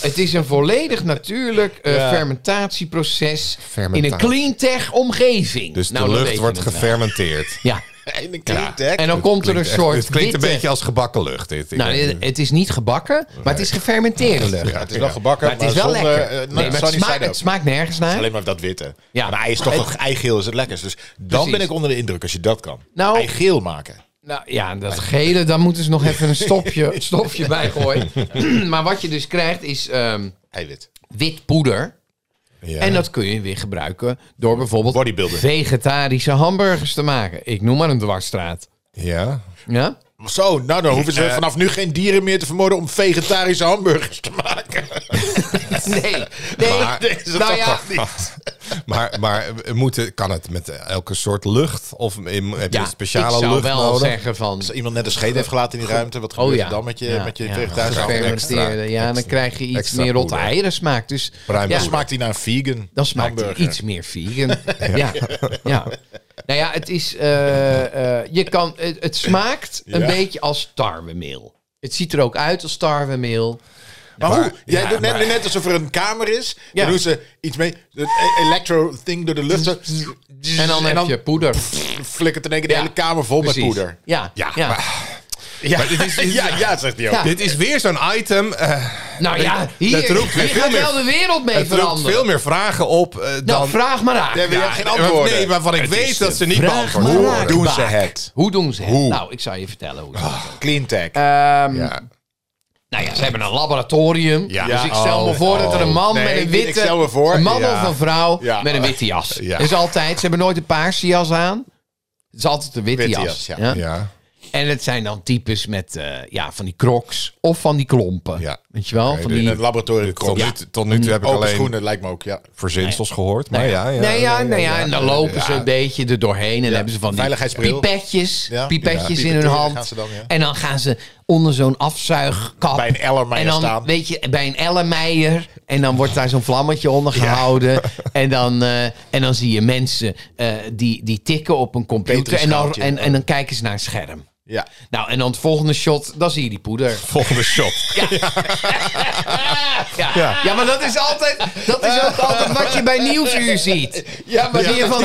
S3: het is een volledig natuurlijk eh, fermentatieproces in een
S2: Fermentatie.
S3: clean-tech omgeving.
S2: Dus
S3: Nou,
S2: de
S3: dan
S2: lucht
S3: weet
S2: wordt
S3: je het wel.
S2: gefermenteerd.
S3: Ja,
S1: In een cleantech.
S3: en dan komt er een
S2: Klinkt echt-
S3: soort
S2: het klinkt een
S3: witte-
S2: beetje als gebakken lucht. Dit. Ik
S3: Nou,
S2: weet
S3: het- het is niet gebakken, maar het is gefermenteerde lucht.
S1: het is wel gebakken,
S3: Maar
S1: maar,
S3: het is wel
S1: zonder...
S3: lekker.
S1: eh,
S3: Nee,
S1: nou,
S3: maar
S1: zou
S3: het,
S1: niet
S3: smaakt,
S1: zijn
S3: het
S1: ook.
S3: smaakt nergens naar.
S1: Alleen maar dat witte.
S3: Ja.
S1: Maar hij is toch nog eigeel, is het lekkers. Dus dan
S3: Precies.
S1: ben ik onder de indruk als je dat kan.
S3: Nou-
S1: eigeel maken.
S3: Nou ja, dat gele, daar moeten ze nog even een stopje, stopje bij gooien. maar wat je dus krijgt is ehm,
S1: Eiwit.
S3: wit poeder.
S2: niet. Ja.
S3: eh, En dat kun je weer gebruiken door bijvoorbeeld
S1: Bodybuilder.
S3: vegetarische hamburgers te maken. Ik noem maar een dwarsstraat.
S2: ja.
S1: [LAUGHS]
S3: Ja?
S1: Zo, nou dan hoeven ze vanaf nu geen dieren meer te vermoorden om vegetarische hamburgers te [LAUGHS] maken.
S3: Nee, nee.
S2: Maar-
S1: Dat is het
S3: nou
S1: toch
S3: ja,
S1: wel niet.
S2: Maar, maar moeten, kan het met elke soort lucht? Of in, heb je
S3: ja
S2: een speciale
S3: ik zou
S2: lucht
S3: wel
S2: nodig?
S3: zeggen van...
S1: Als iemand net een scheet heeft gelaten in die ruimte, wat gebeurt
S3: Oh
S1: er
S3: ja.
S1: dan met je,
S3: ja,
S1: met je
S3: ja,
S1: vegetarische hamburger?
S3: gefermenteerde.
S2: Extra-
S3: Ja, dan
S2: extra-
S3: krijg je iets
S2: extra
S3: meer rotte
S2: poeder.
S3: eieren smaak. Dus
S2: Bruin
S3: ja,
S1: Dan smaakt hij naar een vegan
S3: dan smaakt het
S1: hamburger.
S3: iets meer
S1: [LAUGHS]
S3: vegan. ja. ja. Nou ja, het is... eh, eh, je kan, het, het smaakt een
S1: Ja.
S3: beetje als tarwemeel. Het ziet er ook uit als tarwemeel.
S1: Maar hoe? Jij
S2: ja,
S1: doet net,
S2: maar-
S1: net alsof er een kamer is.
S3: Ja.
S1: Dan doen ze iets mee. Het e- electro-thing door de lucht. zo.
S3: En dan heb je poeder.
S1: flikkert in één keer de
S3: Ja,
S1: hele kamer vol
S3: Precies.
S1: met poeder.
S3: Ja, ja.
S2: Ja,
S1: Ja, ja, ja, zegt hij ook.
S3: [LAUGHS] Ja.
S2: Dit is weer zo'n item. eh,
S3: Nou ja, hier,
S2: dat
S3: [LAUGHS]
S2: roept weer
S3: hier
S2: veel
S3: gaat
S2: meer-
S3: wel de wereld mee
S2: het roept
S3: veranderen.
S2: veel meer vragen op eh,
S3: Nou,
S2: dan...
S3: vraag maar aan.
S1: Daar wil je geen antwoorden.
S2: nee, waarvan ik
S1: Het is
S2: weet dat
S1: de
S2: ze niet
S3: vraag
S2: beantwoord
S3: eh, maar
S2: worden.
S3: raak.
S1: Doen ze
S3: Baak.
S1: het?
S3: Hoe doen ze het?
S1: Hoe?
S3: Nou, ik zal je vertellen hoe ze het doen.
S1: Cleantech.
S3: Ehm,
S2: Ja.
S3: Nou ja, ze hebben een laboratorium.
S2: Ja.
S3: Dus ik stel me
S2: Oh,
S3: voor dat er een man
S1: Nee,
S3: met een
S1: ik- ik
S3: witte...
S1: stel me voor,
S3: Een man
S2: ja.
S3: of een vrouw
S1: Ja.
S3: met een witte jas.
S2: Ja.
S3: Dat is altijd. Ze hebben nooit een paarse jas aan. Het is altijd een witte,
S1: Witte
S3: jas.
S1: jas, ja.
S2: Ja.
S3: En het zijn dan types met eh, ja, van die crocs of van die klompen.
S2: Ja.
S3: Weet je wel?
S2: Oké,
S3: van
S2: dus
S3: die...
S1: In het laboratorium
S2: Tot,
S1: komt ja.
S2: nu, tot nu toe heb ik
S1: Open
S2: alleen
S1: schoenen, lijkt me ook, ja.
S2: verzinsels gehoord. Maar ja, ja,
S3: Mm. nee, ja, nee, ja, en dan lopen ze een beetje er doorheen. En dan hebben ze van die
S1: veiligheidsbril.
S3: pipetjes,
S1: Ja.
S3: pipetjes
S1: Ja.
S3: in hun
S1: Pipeteren
S3: hand.
S1: gaan ze dan, ja.
S3: En dan gaan ze onder zo'n afzuigkap.
S1: Bij een Ellermeijer
S3: En dan,
S1: staan.
S3: weet je, bij een Ellermeijer. En dan wordt daar zo'n vlammetje onder gehouden.
S1: [LAUGHS]
S3: En, dan, eh, en dan zie je mensen eh, die, die tikken op een computer. En dan,
S1: Petrischaaltje.
S3: en, en dan kijken ze naar een scherm.
S1: Ja.
S3: Nou, en dan het volgende shot, dan zie je die poeder.
S2: Volgende shot.
S3: Ja, ja. maar dat is, altijd, dat is ook altijd wat je bij Nieuwsuur ziet. Ja, maar die van...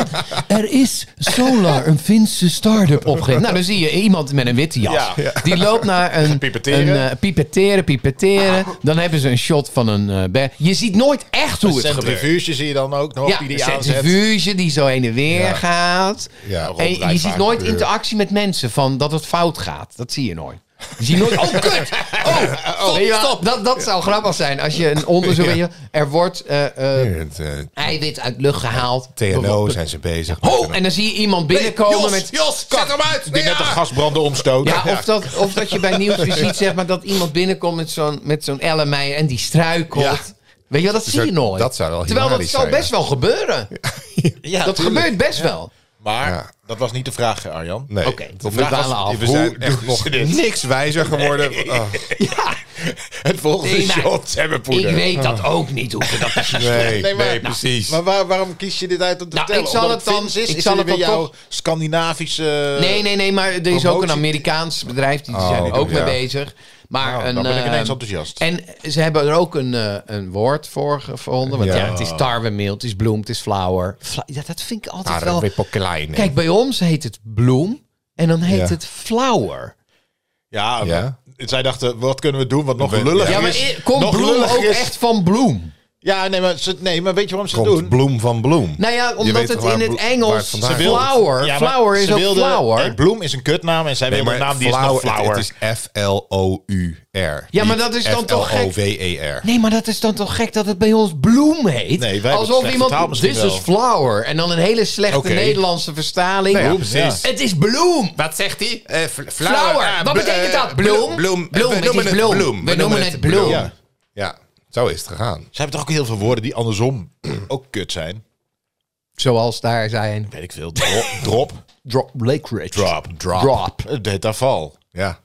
S3: Er is Solar, een Finse start-up opgericht. Nou, dan zie je iemand met een witte jas.
S1: Ja.
S3: Die loopt naar [LAUGHS] een...
S1: Pipeteren.
S3: een, eh, pipeteren, pipeteren. Dan hebben ze een shot van een... eh, ber- je ziet nooit echt hoe het gebeurt.
S1: Centrifuge zie je dan ook nog,
S3: Ja,
S1: die
S3: een
S1: die aanzet.
S3: centrifuge die zo heen en weer
S2: Ja.
S3: gaat.
S2: Ja,
S3: en je ziet nooit
S2: Ja.
S3: interactie met mensen van dat het fout gaat. Dat zie je nooit. Je ziet
S2: [LAUGHS]
S3: nooit, oh kut! Oh, stop,
S2: Weet je wat?
S3: stop. Dat, dat zou grappig zijn als je een onderzoek...
S2: [LAUGHS] Ja.
S3: Er wordt eh, eh,
S2: Het, eh,
S3: eiwit uit lucht gehaald.
S2: TNO zijn ze bezig.
S3: Ho, en dan zie je iemand binnenkomen
S2: Jos,
S3: met...
S2: Jos, zet hem uit!
S1: Die
S2: Ja.
S1: net de gasbranden omstoot.
S3: Ja, of dat, of dat je
S2: [LAUGHS]
S3: bij nieuws weer ziet, zeg maar, dat iemand binnenkomt met zo'n, met zo'n ellemeijer en die struikelt.
S2: Ja.
S3: Weet je wel, dat zie
S2: dat-
S3: je nooit.
S2: dat zou wel
S3: Terwijl dat
S2: hilarisch
S3: zou
S2: zijn,
S3: best wel gebeuren. dat gebeurt best
S2: [LAUGHS]
S3: wel.
S1: Maar
S2: Ja.
S1: dat was niet de vraag, Arjan.
S2: Nee.
S3: Oké, we
S2: de vraag
S3: dwalen
S2: was-
S3: af.
S2: We
S1: Hoe
S2: zijn echt
S1: doen ze
S2: nog
S1: dit?
S2: [LAUGHS] niks wijzer geworden. Oh,
S3: Ja,
S1: [LAUGHS] Het volgende
S3: Nee, maar-
S1: shot hebben
S3: ik
S1: poeder.
S3: weet dat ook niet hoe ze dat precies
S2: nee, nee,
S1: maar-
S2: precies.
S1: Maar waar- waarom kies je dit uit om te
S3: Nou,
S1: vertellen?
S3: ik zal het
S1: Omdat
S3: dan-
S1: Fins
S3: ik
S1: Is, is
S3: zal
S1: het
S3: het
S1: weer
S3: dan
S1: jouw
S3: toch-
S1: Scandinavische...
S3: Nee, nee, nee, maar er is ook
S1: promotie-
S3: een Amerikaans bedrijf, die zijn er
S2: Oh,
S3: ook
S2: ja.
S3: mee bezig. Maar
S1: Nou,
S3: een,
S1: dan ben ik ineens
S3: eh,
S1: enthousiast.
S3: En ze hebben er ook een, eh, een woord voor gevonden. Want ja,
S2: Ja.
S3: het is tarwemeel, het is bloem, het is flower. Vla- ja, dat vind ik
S2: Nou,
S3: altijd wel...
S2: Ah, klein.
S3: Kijk, bij ons heet het bloem en dan heet
S2: Ja.
S3: het flower.
S1: Ja,
S2: Ja.
S1: maar zij dachten, wat kunnen we doen wat nog
S2: We-
S1: lulliger
S3: Ja, maar
S1: is?
S3: komt
S1: nog
S3: bloem
S1: lulliger
S3: ook
S1: is-
S3: echt van bloem?
S1: Ja, nee maar, ze, nee, maar weet je waarom ze het
S2: Komt
S1: doen?
S2: bloem van bloem.
S3: Nou ja, omdat
S2: weet
S3: het
S2: toch waar
S3: in het
S2: blo- waar het
S3: Engels
S2: vandaan
S1: Ze wil-
S3: flower,
S1: Ja, maar
S3: flower is
S1: ze
S3: ook
S1: wilde-
S3: flower.
S1: Nee, bloem is een kutnaam en zij
S2: Nee,
S1: wilde
S2: maar
S1: een naam die is nog flower.
S2: Het, het is F-L-O-U-R.
S3: Ja, maar
S2: Niet
S3: dat is dan toch gek?
S2: F-L-O-W-E-R.
S3: Nee, maar dat is dan toch gek dat het bij ons bloem heet?
S1: Nee, wij hebben het
S3: Alsof
S1: slecht vertaald
S3: iemand,
S1: misschien
S3: this is
S1: wel.
S3: flower. En dan een hele slechte
S2: Oké.
S3: Nederlandse verstaling.
S2: Nee, ja,
S3: Bloem.
S2: precies.
S3: Het is bloem.
S2: Wat zegt hij?
S3: Flower. Wat betekent dat? Bloem?
S2: Bloem.
S3: Bloem,
S2: We
S3: het
S2: noemen
S3: is
S2: het
S3: bloem.
S2: bloem.
S3: We noemen het bloem.
S2: Ja. ja, zo is het gegaan.
S1: Ze hebben toch ook heel veel woorden die andersom [CLEARS THROAT] ook kut zijn?
S3: Zoals daar zijn.
S1: Weet ik
S3: [LAUGHS]
S1: veel. Dro- drop.
S3: Drop, Lake
S1: Drop.
S3: Drop. Drop.
S1: Het val.
S2: Ja.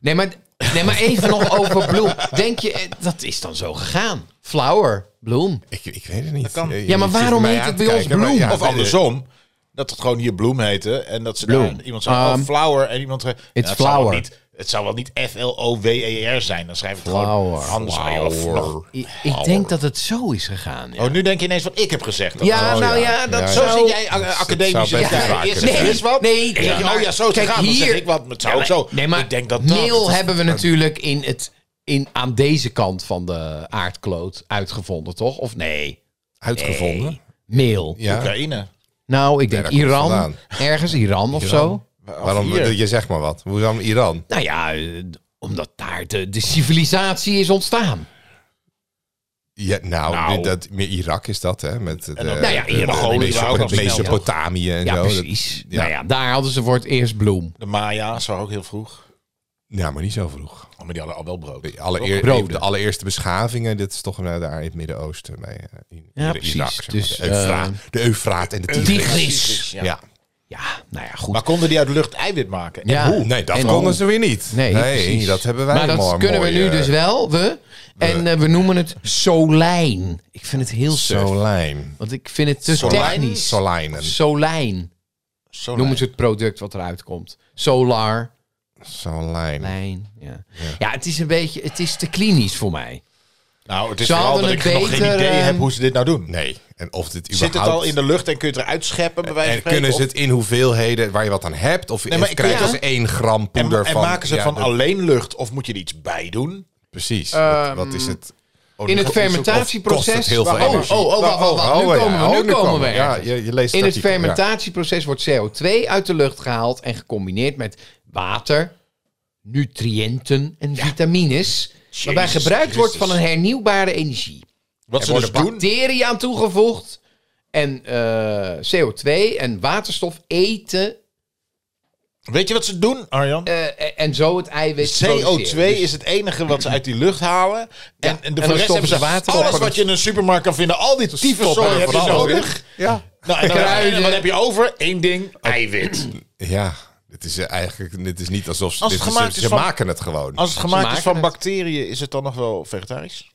S3: Nee, maar, nee, maar even nog over bloem. Denk je, eh, dat is dan zo gegaan. Flower, bloem.
S2: Ik, ik weet het niet. Eh,
S1: kan.
S2: Je- je
S3: Ja, maar
S2: hoeft
S3: waarom
S2: mij
S3: heet
S2: aan
S3: het
S2: te
S3: bij ons
S2: kijken, maar
S3: bloem?
S2: ja,
S1: Of
S2: weet ik.
S1: andersom. Dat het gewoon hier bloem heette. En dat ze daar iemand zei, oh,
S3: Um,
S1: flower. En iemand zei, ja, het zou wel
S3: flower.
S1: niet- Het zou wel niet F-L-O-W-E-R E zijn. Dan schrijf ik het gewoon
S3: Flower.
S1: anders. aan, joh. Of nog-
S3: I- ik denk dat het zo is gegaan. Ja,
S1: Oh, nu denk je ineens wat ik heb gezegd.
S3: Ja,
S1: Oh,
S3: nou ja, dat
S2: Ja, ja.
S1: Zo
S3: zou...
S1: zit jij a- academisch. eh,
S2: zou best
S1: in
S2: wel
S1: elkaar.
S2: waar
S1: Eerst
S2: kunnen
S3: zijn.
S1: zeg je eens wat.
S3: Nee,
S1: Dan zeg je,
S3: maar
S1: oh ja, zo is het
S3: kijk,
S1: gegaan. Dan zeg
S3: hier-
S1: ik wat. maar Het zou ook zo.
S3: Nee, maar
S1: ik denk dat dat-
S3: mail hebben we natuurlijk in het, in, aan deze kant van de aardkloot uitgevonden, toch? Of nee?
S2: Uitgevonden.
S3: Mail.
S2: Ja.
S1: Oekraïne.
S3: Nou, ik denk
S2: daar komt het
S3: Iran. Ergens Iran of zo.
S2: Waarom,
S1: hier.
S2: je zegt maar wat. Hoe dan Iran?
S3: Nou ja, eh, omdat daar de, de civilisatie is ontstaan.
S2: Ja, nou,
S1: Nou.
S2: Dat, meer Irak is dat, hè? Met het,
S1: dan-
S2: eh,
S3: Nou ja,
S2: de-
S3: Iran.
S2: de-
S1: Mongolen
S2: Meso-
S1: waren ook al snel,
S2: Mesopotamië en
S3: Ja,
S2: zo. Dat-
S3: precies.
S2: ja.
S3: Nou ja, daar hadden ze voor het eerst bloem.
S1: De Maya's waren ook heel vroeg.
S2: Ja, maar niet zo vroeg.
S1: Oh, maar die hadden al wel brood.
S2: De, allereer,
S3: Broden.
S2: de allereerste beschavingen, dit is toch eh, daar in het Midden-Oosten. Bij, eh, in,
S3: Ja,
S2: in
S3: precies.
S2: Irak, zeg maar.
S3: Dus,
S2: de, Eufraat,
S3: eh,
S2: de Eufraat en de Tigris.
S3: Tigris.
S1: Ja.
S2: Ja.
S3: Ja, nou ja, goed.
S1: Maar konden die uit de lucht eiwit maken? En
S3: Ja.
S1: hoe?
S2: Nee, dat
S3: En-
S2: konden ze weer niet.
S3: Nee, precies.
S2: dat hebben wij
S3: Maar dat
S2: mooi-
S3: kunnen we
S2: mooi,
S3: nu
S2: eh,
S3: dus wel, we. En eh, we noemen het solijn. Ik vind het heel surf.
S2: Solijn.
S3: Want ik vind het te
S1: Solijn?
S3: technisch.
S2: Solijnen.
S3: Solijn
S1: Zo
S3: noemen
S1: lijkt.
S3: ze het product wat eruit komt. Solar,
S2: Solijn.
S3: lijn. Ja. ja, het is een beetje, het is te klinisch voor mij.
S1: Nou, het is
S3: Ze
S1: vooral dat
S3: hadden
S1: ik
S3: het
S1: nog geen
S3: beter,
S1: idee
S3: ehm,
S1: heb hoe ze dit nou doen.
S2: Nee. En of dit überhaupt...
S1: Zit het al in de lucht en kun je het eruit scheppen? Bij wijze
S2: En
S1: van spreken?
S2: kunnen ze
S1: Of-
S2: het in hoeveelheden waar je wat aan hebt? Of
S1: maar
S2: of
S1: ik-
S2: krijg je
S3: ja.
S2: als één gram
S1: en,
S2: poeder
S1: en
S2: van...
S1: maken ze
S2: ja,
S1: van
S2: dat-
S1: alleen lucht of moet je er iets bij doen?
S2: Precies. Wat- wat is het?
S3: Ehm, In het
S2: Of kost het
S3: fermentatieproces.
S2: heel veel
S3: Wacht, oh,
S2: energie?
S3: oh, oh, wacht, wacht, wacht. Nu
S2: ja,
S3: komen we, nu
S2: oh,
S3: komen we
S2: Ja,
S3: ergens.
S2: je, je leest
S3: In het
S2: artikel, ja.
S3: fermentatieproces wordt CO2 uit de lucht gehaald en gecombineerd met water, nutriënten en vitamines. waarbij
S1: Jezus
S3: gebruikt wordt
S1: Christus.
S3: van een hernieuwbare energie.
S1: Wat
S3: Er
S1: ze dus
S3: worden
S1: doen?
S3: bacteriën aan toegevoegd. En eh, CO2 en waterstof eten.
S1: Weet je wat ze doen, Arjan?
S3: eh, en zo het eiwit.
S1: CO2
S3: produceren. Dus-
S1: is het enige wat ze uit die lucht halen. En, en
S3: en
S1: de voor
S3: dan
S1: de rest hebben
S3: stoppen
S1: ze
S3: ze water
S1: alles
S3: op.
S1: wat je in een supermarkt kan vinden. Al die
S2: Stoppen
S1: tyfuszooi
S2: er
S1: heb je
S2: van alles
S1: nodig.
S2: in. Ja.
S1: Nou, en dan,
S3: Kruiden.
S1: en wat heb je over? Eén ding,
S2: Oh.
S1: eiwit.
S2: Ja. Het is eh, eigenlijk... Het is niet alsof... ze-
S1: Als
S2: dit
S1: het gemaakt
S2: ze
S1: is
S2: ze
S1: van-
S2: maken het gewoon.
S1: Als het gemaakt is
S3: maken
S1: van
S3: het.
S1: bacteriën, is het dan nog wel vegetarisch?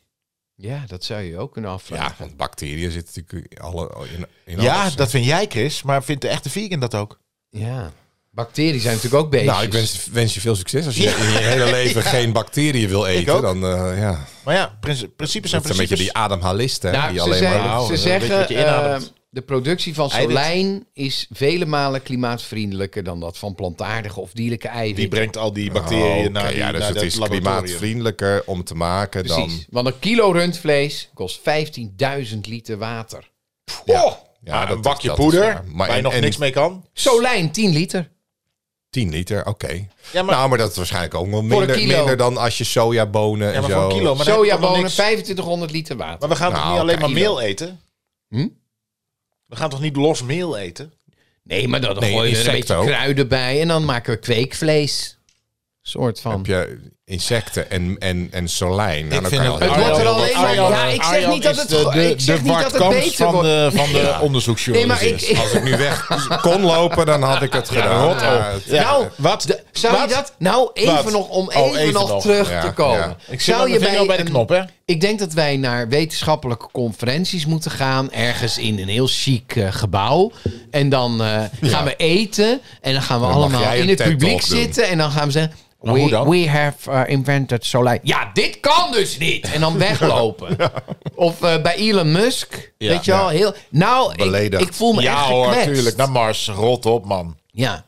S3: Ja, dat zou je ook kunnen
S2: Ja,
S3: afvragen.
S2: want bacteriën zitten natuurlijk in alle... In, in
S1: Ja,
S2: alles.
S1: dat vind jij, Chris. Maar vindt de echte vegan dat ook?
S3: Ja. Bacteriën zijn natuurlijk ook bezig.
S2: Nou, ik wens, wens je veel succes. Als je in je hele leven
S3: [LAUGHS]
S2: geen bacteriën wil eten,
S1: ook.
S2: dan eh, ja,
S1: Maar ja, princi- principes zijn
S2: dat is een beetje
S1: principes.
S2: die ademhalisten hè,
S3: Nou,
S2: die
S3: ze,
S2: alleen
S3: zeggen-
S2: maar...
S1: Nou,
S3: ze
S1: dat weet je
S3: zeggen,
S1: wat je inademt.
S3: eh, de productie van
S1: Eiwit.
S3: solijn is vele malen klimaatvriendelijker dan dat van plantaardige of dierlijke eiwit.
S1: Die brengt al die
S2: Oh,
S1: bacteriën
S2: oké,
S1: naar, die,
S2: ja, dus
S1: naar
S2: het
S1: dat
S2: is
S1: laboratorium.
S2: klimaatvriendelijker om te maken
S3: Precies.
S2: dan...
S3: Want een kilo rundvlees kost 15.000 liter water.
S1: Ja,
S2: Ja,
S1: maar
S2: dat
S1: Oh, een
S2: is-
S1: bakje
S2: dat is
S1: poeder
S2: waar. Maar
S1: waar je
S2: en-
S1: nog
S2: en-
S1: niks mee kan.
S3: Solijn 10 liter.
S2: Oh, 10 liter, oké.
S1: Ja, maar-
S2: nou, maar dat is waarschijnlijk ook wel
S3: een
S2: minder,
S3: kilo.
S2: minder dan als je sojabonen
S1: Ja,
S2: en
S1: maar
S2: zo...
S1: voor een kilo. Maar dan heb je toch nog
S3: Sojabonen
S1: niks-
S3: 2500 liter water.
S1: Maar we gaan
S2: Nou,
S1: toch niet alleen maar
S2: kilo.
S1: meel eten?
S3: Hm?
S1: We gaan toch niet los meel eten?
S3: Nee, maar dan
S2: Nee,
S3: gooi je er een
S2: insecten
S3: beetje
S2: ook.
S3: kruiden bij en dan maken we kweekvlees. Soort van.
S2: heb je insecten en, en, en solijn. Nou, dan
S1: vind
S2: kan je
S1: het-
S2: al
S3: Het
S2: heel
S3: wordt er
S2: veel-
S1: Arjan-
S3: alleen maar.
S1: Arjan-
S3: Ja, ik zeg
S1: Arjan
S3: niet dat
S1: is
S3: het
S1: de-
S3: go-
S1: de-
S3: ik zeg
S1: de
S3: niet dat het
S1: Bart Kamps
S3: beter
S1: van
S3: wordt.
S1: de, van de
S2: Ja.
S3: Nee,
S1: onderzoeksjournalist
S3: maar ik,
S1: is.
S2: [LAUGHS] Als ik nu weg kon lopen, dan had ik het gedaan.
S1: rot op.
S2: Maar het-
S1: Ja.
S3: Nou,
S1: Wat?
S3: de- zou
S1: Wat?
S3: je dat? Nou, even
S1: Wat?
S3: nog om
S1: Oh,
S3: even,
S1: even
S3: nog,
S1: nog.
S3: terug
S2: Ja,
S3: te komen.
S2: ja.
S1: Ik zit met mijn vinger al bij de
S3: een-
S1: knop, hè?
S3: Ik denk dat wij naar wetenschappelijke conferenties moeten gaan. Ergens in een heel chic eh, gebouw. En dan eh, gaan we eten. En dan gaan we
S2: mag
S3: allemaal
S2: jij een
S3: in het
S2: TED Talk
S3: publiek
S2: doen.
S3: zitten. En dan gaan we zeggen.
S1: Maar hoe
S3: We,
S1: dan?
S3: we have eh, invented solar. Ja, dit kan dus niet. En
S1: [LAUGHS]
S3: dan weglopen. Of eh, bij Elon Musk.
S1: Ja.
S3: weet je wel, heel. Nou, ik,
S2: Beledigd.
S3: ik voel me echt
S1: Ja Nou,
S3: gekwetst.
S1: hoor, tuurlijk. Naar Mars. Rot op, man.
S3: Ja.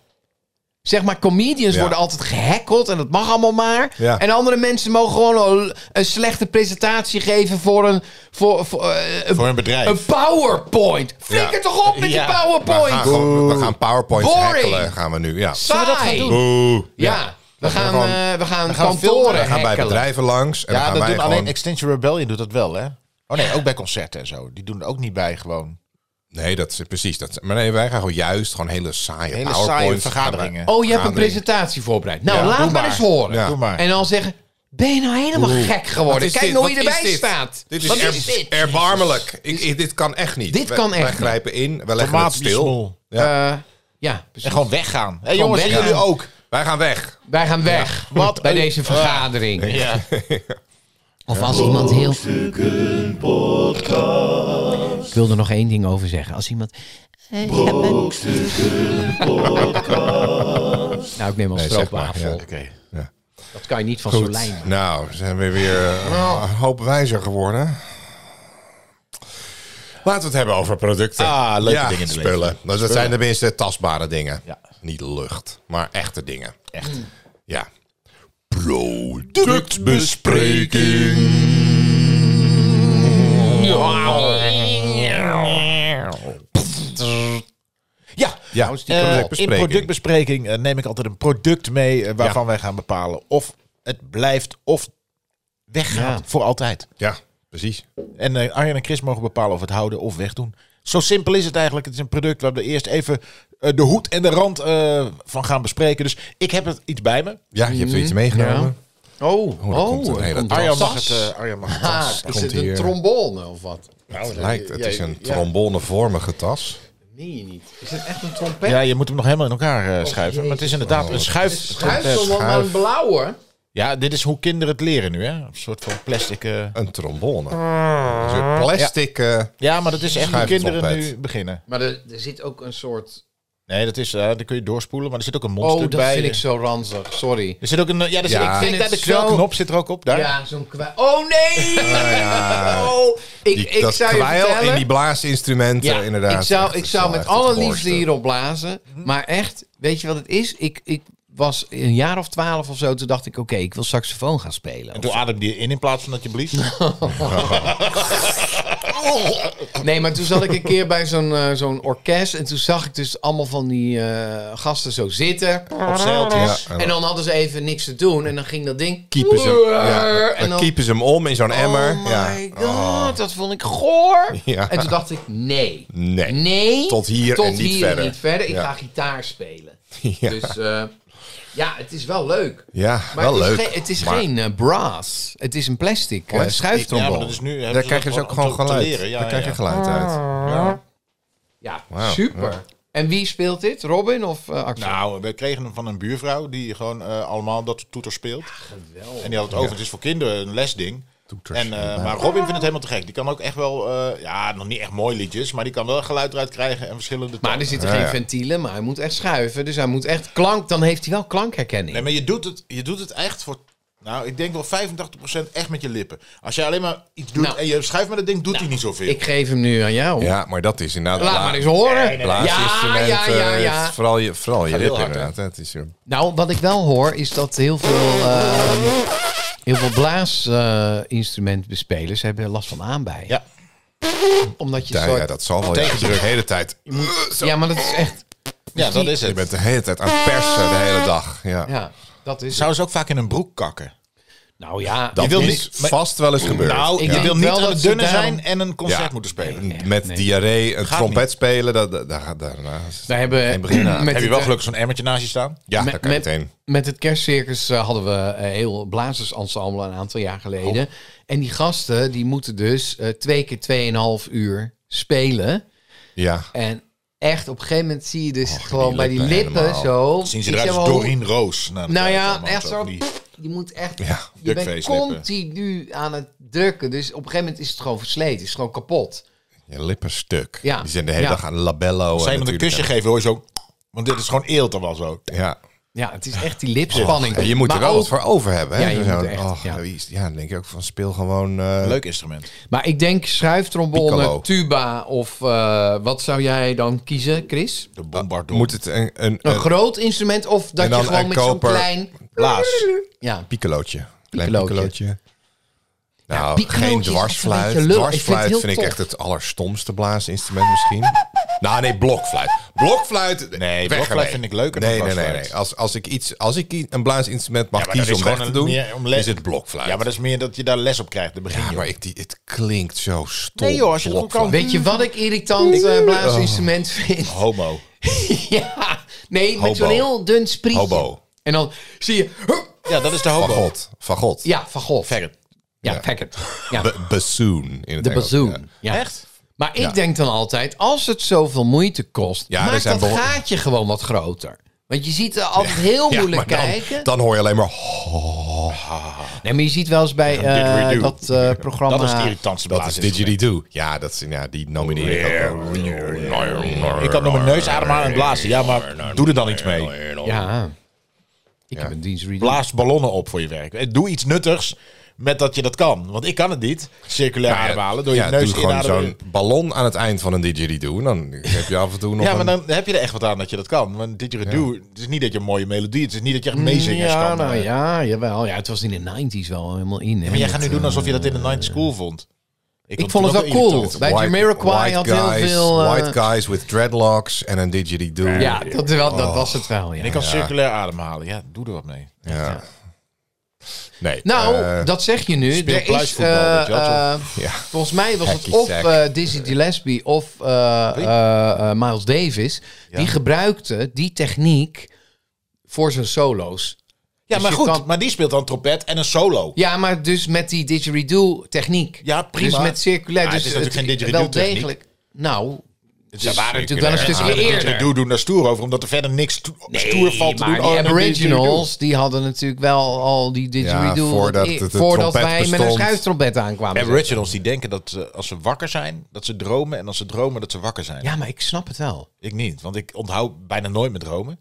S3: Zeg maar, comedians
S2: Ja.
S3: worden altijd gehackeld en dat mag allemaal maar.
S2: Ja.
S3: En andere mensen mogen gewoon een- een slechte presentatie geven voor een, voor, voor, eh, een,
S1: Voor een bedrijf.
S3: een PowerPoint. Flikker
S2: Ja.
S3: toch op met
S1: Ja.
S2: We
S3: die
S2: gaan,
S3: PowerPoint.
S2: gewoon, we gaan PowerPoint
S3: Boring.
S2: hackelen, gaan we nu. Ja.
S3: Saai.
S1: Zullen we dat gaan doen?
S2: Oeh.
S3: Ja, we, gaan,
S2: gewoon-
S3: eh, we gaan
S1: gaan
S3: kantoren
S1: filteren.
S2: We gaan bij
S3: hackelen.
S2: bedrijven langs. En dan
S1: Ja,
S2: gaan
S1: dat
S2: wij
S1: doen alleen
S2: gewoon...
S1: Extinction Rebellion doet dat wel, hè? Oh nee, ook bij concerten en zo. Die doen het ook niet bij gewoon
S2: Nee, dat is precies. Dat, maar nee, wij gaan gewoon juist gewoon hele saaie
S1: hele
S2: PowerPoints.
S1: saaie
S2: gaan
S1: vergaderingen.
S2: we-
S3: Oh, je hebt een
S2: vergadering.
S3: presentatie voorbereid. Nou,
S1: Ja,
S3: laat
S1: doe
S3: maar, eens horen.
S2: Ja.
S1: Doe maar.
S3: En dan zeggen, ben je nou helemaal gek
S2: Wat
S3: geworden?
S2: is
S3: Kijk
S2: dit?
S3: nou hoe je
S2: Wat is
S3: erbij
S2: dit?
S3: staat.
S2: Dit is,
S3: Wat
S2: er-
S3: is dit?
S2: erbarmelijk. Ik, ik- dit kan echt niet.
S3: Dit
S2: Wij-
S3: kan echt
S2: Wij
S3: niet.
S2: grijpen in, we leggen het stil.
S1: Tomaatjesmol.
S3: Eh, ja, precies.
S1: En gewoon weggaan. Hé jongens, en
S3: weggaan.
S1: jullie ook.
S2: Wij gaan weg.
S3: Wij gaan weg.
S1: Wat
S3: bij
S1: een-
S3: deze vergadering.
S1: Ja.
S3: [LAUGHS] Of als iemand heel... Ik wil er nog één ding over zeggen. Als iemand... eh, ja, ben- nou, ik neem al
S2: Nee, zeg maar,
S3: stroopwafel.
S2: ja.
S1: Oké.
S3: Dat kan je niet van zo'n
S2: Goed.
S3: lijn.
S2: Nou, zijn we weer eh, een hoop wijzer geworden. Laten we het hebben over producten.
S1: Ah, leuke dingen in het
S2: spullen.
S1: leven.
S2: Dus dat zijn tenminste tastbare dingen.
S1: Ja.
S2: Niet lucht, maar echte dingen.
S1: Echt.
S3: Mm.
S2: Ja. Productbespreking.
S1: Ja,
S2: Ja,
S1: Eh, in
S2: productbespreking.
S1: productbespreking eh, neem ik altijd een product mee eh, waarvan
S2: Ja.
S1: wij gaan bepalen of het blijft of weggaat
S3: Ja.
S1: voor altijd.
S2: Ja, precies.
S1: En eh, Arjen en Chris mogen bepalen of we het houden of wegdoen. Zo simpel is het eigenlijk. Het is een product waar we eerst even eh, de hoed en de rand eh, van gaan bespreken. Dus ik heb het iets bij me.
S2: Ja, je hebt er iets meegenomen.
S3: Oh, oh,
S2: er komt een
S3: er
S2: hele
S3: komt een
S1: Arjan mag
S3: tas.
S1: het, eh, Arjan mag het
S3: Ah,
S1: vast.
S3: is
S2: komt
S3: het een
S2: hier.
S3: trombone of wat? Nou,
S2: Het lijkt, het is een
S3: ja.
S2: trombonevormige tas.
S3: Meen je niet. Is het echt een trompet?
S1: Ja, je moet hem nog helemaal in elkaar eh, schuiven. Maar het is inderdaad een schuif.
S3: Schuifsel, want maar
S2: schuif.
S3: een blauwe.
S1: Ja, dit is hoe kinderen het leren nu, hè? Een soort van plastic. eh.
S2: Een trombone.
S3: Ah.
S2: Een soort plastic. eh,
S1: Ja, maar dat is echt hoe
S2: Schuif het op,
S1: kinderen
S2: Pet.
S1: nu beginnen.
S3: Maar er, er zit ook een soort...
S1: Nee, dat is, eh daar kun je doorspoelen, maar er zit ook
S3: Oh,
S1: een mondstuk
S3: dat
S1: bij.
S3: vind ik zo ranzig. Sorry.
S1: Er zit ook een, eh, ja, daar zit,
S2: Ja.
S1: ik
S3: Ik
S1: vind daar de
S3: vind het zo-
S1: knop zit er ook op. Daar.
S3: Ja, zo'n kwij...
S2: [LAUGHS]
S3: Oh, nee! Oh, ik,
S2: die,
S3: ik
S2: dat
S3: zou je
S2: kwijl
S3: vertellen...
S2: in die blaasinstrumenten,
S3: ja,
S2: inderdaad.
S3: ik zou,
S2: Echt,
S3: ik
S2: het
S3: zou
S2: is wel
S3: met
S2: echt het Mhm.
S3: alle
S2: goorste.
S3: liefde hierop blazen. Maar echt, weet je wat het is? Ik, ik was een jaar of twaalf of zo. Toen dacht ik, oké, ik wil saxofoon gaan spelen.
S1: En toen ademde je in in plaats van dat je blies.
S3: Nee, maar toen zat ik een keer bij zo'n eh, zo'n orkest. En toen zag ik dus allemaal van die eh, gasten zo zitten.
S1: op zeiltjes.
S2: Ja,
S3: En dan hadden ze even niks te doen. En dan ging dat ding...
S2: keepen ze, ja,
S3: en
S2: dan,
S3: dan-
S2: keepen ze hem om in zo'n emmer.
S3: Oh my
S2: ja.
S3: god, dat vond ik goor.
S2: Ja.
S3: En toen dacht ik, nee.
S2: Nee. Tot hier
S3: tot
S2: en niet
S3: hier
S2: verder.
S3: niet verder. Ik
S2: Ja.
S3: ga gitaar spelen.
S2: Ja.
S3: Dus eh, ja, het is wel leuk.
S2: Ja,
S3: Maar
S2: wel
S3: het is,
S2: leuk.
S3: geen- het is
S2: Maar-
S3: geen eh, brass. Het is een plastic eh,
S2: het is-
S1: Ja,
S3: schuiftrombone.
S1: maar dat is nu.
S2: Daar krijg je dus ook gewoon geluid.
S1: Ja,
S2: Daar krijg je
S1: ja.
S2: geluid
S3: Ah.
S2: uit.
S3: Ja,
S2: Wauw.
S3: super. En wie speelt dit? Robin of eh Axel?
S1: Nou, we kregen hem van een buurvrouw die gewoon eh, allemaal dat toeter speelt.
S2: Ah,
S1: En die had het over. Het is voor kinderen een lesding.
S2: Toeters.
S1: En, eh, maar Robin vindt het helemaal te gek. Die kan ook echt wel, eh, ja, nog niet echt mooi liedjes, maar die kan wel geluid eruit krijgen en verschillende
S3: maar
S1: tonen.
S3: er zitten
S2: Ja,
S3: geen
S2: ja.
S3: ventielen, maar hij moet echt schuiven. Dus hij moet echt klank. Dan heeft hij wel klankherkenning.
S1: Nee, maar je doet, het, je doet het echt voor, nou, ik denk wel 85% echt met je lippen. Als jij alleen maar iets doet
S3: Nou.
S1: en je schuift met dat ding, doet hij niet zoveel.
S3: Ik geef hem nu aan jou.
S2: Ja, maar dat is inderdaad...
S3: Laat
S2: bla-
S3: maar eens horen. Ja,
S2: Blaasinstrumenten.
S3: ja, ja, ja.
S2: het is Vooral je, vooral je
S1: heel
S2: lip
S1: hard, hè?
S2: inderdaad. hè. Het is een-
S3: Nou, wat ik wel hoor is dat heel veel, ehm heel veel blaasinstrumentbespelers hebben last van aanbij.
S1: Ja.
S3: Omdat je
S2: ja,
S3: soort...
S2: ja, dat zal wel. Ja. Je druk de hele tijd. Zo.
S3: ja, maar dat is echt...
S1: ja, dat is
S2: Je
S1: het.
S2: bent de hele tijd aan het persen de hele dag. Ja.
S3: Ja, dat is...
S1: Zou ze ook vaak in een broek kakken?
S3: Nou ja,
S2: Dat
S3: je
S1: wil
S3: wilt
S2: is
S1: niet- maar-
S2: vast wel eens gebeurd.
S1: Nou,
S3: Ik
S1: je
S3: denk
S1: wil niet
S3: wel
S1: aan
S3: dat
S1: het
S3: ze
S1: dunne
S3: daarom-
S1: zijn en een concert moeten spelen.
S2: Met diarree, een
S1: Gaat
S2: trompet
S1: niet.
S2: spelen, dat, dat, daar, daarna is-
S3: Wij hebben
S2: Geen begin aan.
S3: met
S1: Heb je
S3: het,
S1: wel
S3: eh,
S1: gelukkig zo'n emmertje naast je staan?
S2: Ja,
S3: met,
S2: daar kan je
S3: met-
S2: meteen.
S3: met het kerstcircus eh, hadden we eh, heel blazersensemble een aantal jaar
S2: Oh.
S3: geleden. En die gasten die moeten dus eh, twee keer tweeënhalf uur spelen.
S2: Ja.
S3: En echt op een gegeven moment zie je dus gewoon
S2: die
S3: bij die
S2: lippen
S3: lippen
S2: helemaal.
S3: zo.
S1: Zien ze
S3: is
S1: eruit als
S3: helemaal-
S1: Doreen Roos. Nou, dat
S3: Nou
S1: weet
S3: ja,
S1: allemaal
S3: echt zo.
S1: toch niet.
S3: Je moet echt.
S2: Ja,
S3: je bent
S1: duckface-lippen.
S3: continu aan het drukken. Dus op een gegeven moment is het gewoon versleten. Is het gewoon kapot.
S2: Je lippen stuk.
S3: Ja.
S2: Die zijn de hele
S3: Ja.
S2: dag aan labello.
S1: Als
S2: en
S1: je iemand een
S2: natuurlijk
S1: kusje geven, hoor je zo... Want dit is gewoon eelt dan wel zo.
S2: aan- Ja.
S3: Ja, het is echt die lipspanning.
S2: Ja, je moet
S3: Maar
S2: er wel
S3: ook-
S2: wat voor over hebben. Hè?
S3: Ja, je
S2: Zo'n-
S3: moet er echt,
S2: oh,
S3: ja.
S2: wie is- ja, dan denk je ook van speel gewoon... eh,
S1: Leuk instrument.
S3: Maar ik denk schuiftrombone,
S2: Piccolo.
S3: tuba of eh, wat zou jij dan kiezen, Chris?
S1: De bombardon.
S2: Moet het een, een,
S3: Een
S2: een
S3: groot instrument of dat
S2: Eh, en
S3: je
S2: dan
S3: gewoon
S2: een
S3: met zo'n
S2: koper-
S3: klein...
S1: Blaas.
S3: Ja,
S2: piccolootje. Klein
S3: Piccolootje.
S2: piccolootje. Nou,
S3: piccolootje
S2: geen
S3: is echt
S2: dwarsfluit.
S3: een beetje lul. Ik vind
S2: Dwarsfluit
S3: het
S2: vind,
S3: heel
S2: ik
S3: tof.
S2: echt het allerstomste blaasinstrument misschien. nou, nee, blokfluit. Blokfluit. Nee,
S1: blokfluit vind ik leuker dan
S2: Nee, nee, nee.
S1: dwarsfluit.
S2: nee. Als, als ik iets, als ik i- een blaasinstrument mag
S1: Ja, maar dat
S2: kiezen
S1: is
S2: om weg
S1: gewoon
S2: te
S1: een-
S2: doen,
S1: ja, om les-
S2: is het blokfluit.
S1: Ja, maar dat is meer dat je daar les op krijgt. Dan begin
S2: Ja,
S1: je
S2: maar
S1: op.
S2: ik, die, het klinkt zo stom.
S1: Nee, joh, als je het goed kan.
S3: weet je wat ik irritant
S2: Oh.
S3: eh, blaasinstrument vind? [LAUGHS]
S1: Homo.
S3: ja, nee, met zo'n
S2: Hobo.
S3: heel dun sprietje.
S2: Hobo.
S3: En dan zie je...
S1: Ja, dat is de
S2: Van
S1: homo.
S2: God. Van God.
S3: Ja, van golf.
S1: Verret.
S3: Ja, Packard. Ja,
S2: Ba- bassoon. In het
S3: de
S2: Engels.
S3: bazoon.
S2: Ja.
S3: Ja.
S1: Echt?
S3: Maar ik denk dan altijd, als het zoveel moeite kost,
S2: Ja, er
S3: maak
S2: zijn
S3: dat
S2: behoor-
S3: gaatje gewoon wat groter. Want je ziet er altijd heel
S2: Ja,
S3: moeilijk
S2: maar dan-
S3: kijken.
S2: Dan hoor je alleen maar...
S3: Nee, maar je ziet wel eens bij eh,
S1: didgeridoo.
S3: dat eh, programma...
S1: Dat is het irritantste
S2: Dat is
S1: blaasinstrument.
S2: Didgeridoo. Ja, dat is, ja die nomineer ik ook wel.
S1: Ik kan door mijn neus ademhalen en blazen. Ja, maar doe er dan iets mee.
S3: ja. Ik heb een dienstreading.
S1: Blaas ballonnen op voor je werk. Eh, Doe iets nuttigs met dat je dat kan. Want ik kan het niet. Circulair
S2: Ja,
S1: ademhalen door je
S2: ja,
S1: neus
S2: doe gewoon
S1: inademen.
S2: zo'n ballon aan het eind van een didgeridoo. En dan heb je af en toe nog
S1: Ja, maar
S2: een...
S1: dan heb je er echt wat aan dat je dat kan. Want didgeridoo, het is niet dat je een mooie melodie... Het is niet dat je echt meezingers
S3: ja,
S1: kan.
S3: nou
S1: eh.
S3: ja, jawel. Ja, het was in de 90s wel helemaal in. hè.
S1: Maar jij gaat nu
S3: Met,
S1: doen
S3: eh,
S1: alsof je dat in de 90s cool vond.
S3: Ik vond het
S1: toen
S3: wel
S1: ook
S3: cool.
S1: irritant.
S3: Bij Jamiroquai had heel
S2: guys,
S3: veel... eh,
S2: White guys with dreadlocks en een didgeridoo.
S3: ja, dat, wel, dat was het wel, ja.
S1: En ik kan circulair ademhalen. Ja, doe er wat mee.
S2: Ja. Nee.
S3: Nou,
S2: eh,
S3: dat zeg je nu.
S1: speel
S3: Er is,
S1: pluisvoetbal,
S3: eh,
S1: weet je wel,
S3: eh,
S2: Ja.
S3: Volgens mij was het
S2: Hacky
S3: of
S2: sack.
S3: eh, Dizzy Gillespie of eh, eh, eh, Miles Davis. Die gebruikte die techniek voor zijn solo's.
S1: Ja,
S3: Dus
S1: maar
S3: je
S1: goed.
S3: kan-
S1: Maar die speelt dan trompet en een solo.
S3: Ja, maar dus met die didgeridoo techniek.
S1: Ja, prima.
S3: Dus met circulair.
S1: Maar
S3: dus
S1: het is natuurlijk geen
S3: wel
S1: didgeridoo-techniek.
S3: degelijk. Nou,
S1: Het
S3: Ze waren natuurlijk wel een stukje eerder.
S1: Doe doen daar stoer over, omdat er verder niks to- stoer valt te
S3: maar
S1: doen.
S3: die
S1: Oh, en didgeridoo.
S3: aboriginals die hadden natuurlijk wel al die didgeridoo.
S2: Ja, voordat het de
S3: voordat
S2: trompet
S3: wij met een
S2: bestond.
S3: schuiftrompet aankwamen.
S1: Aboriginals die denken dat ze, als ze wakker zijn, dat ze dromen. En als ze dromen, dat ze wakker zijn.
S3: Ja, maar ik snap het wel.
S1: Ik niet, want ik onthoud bijna nooit mijn dromen.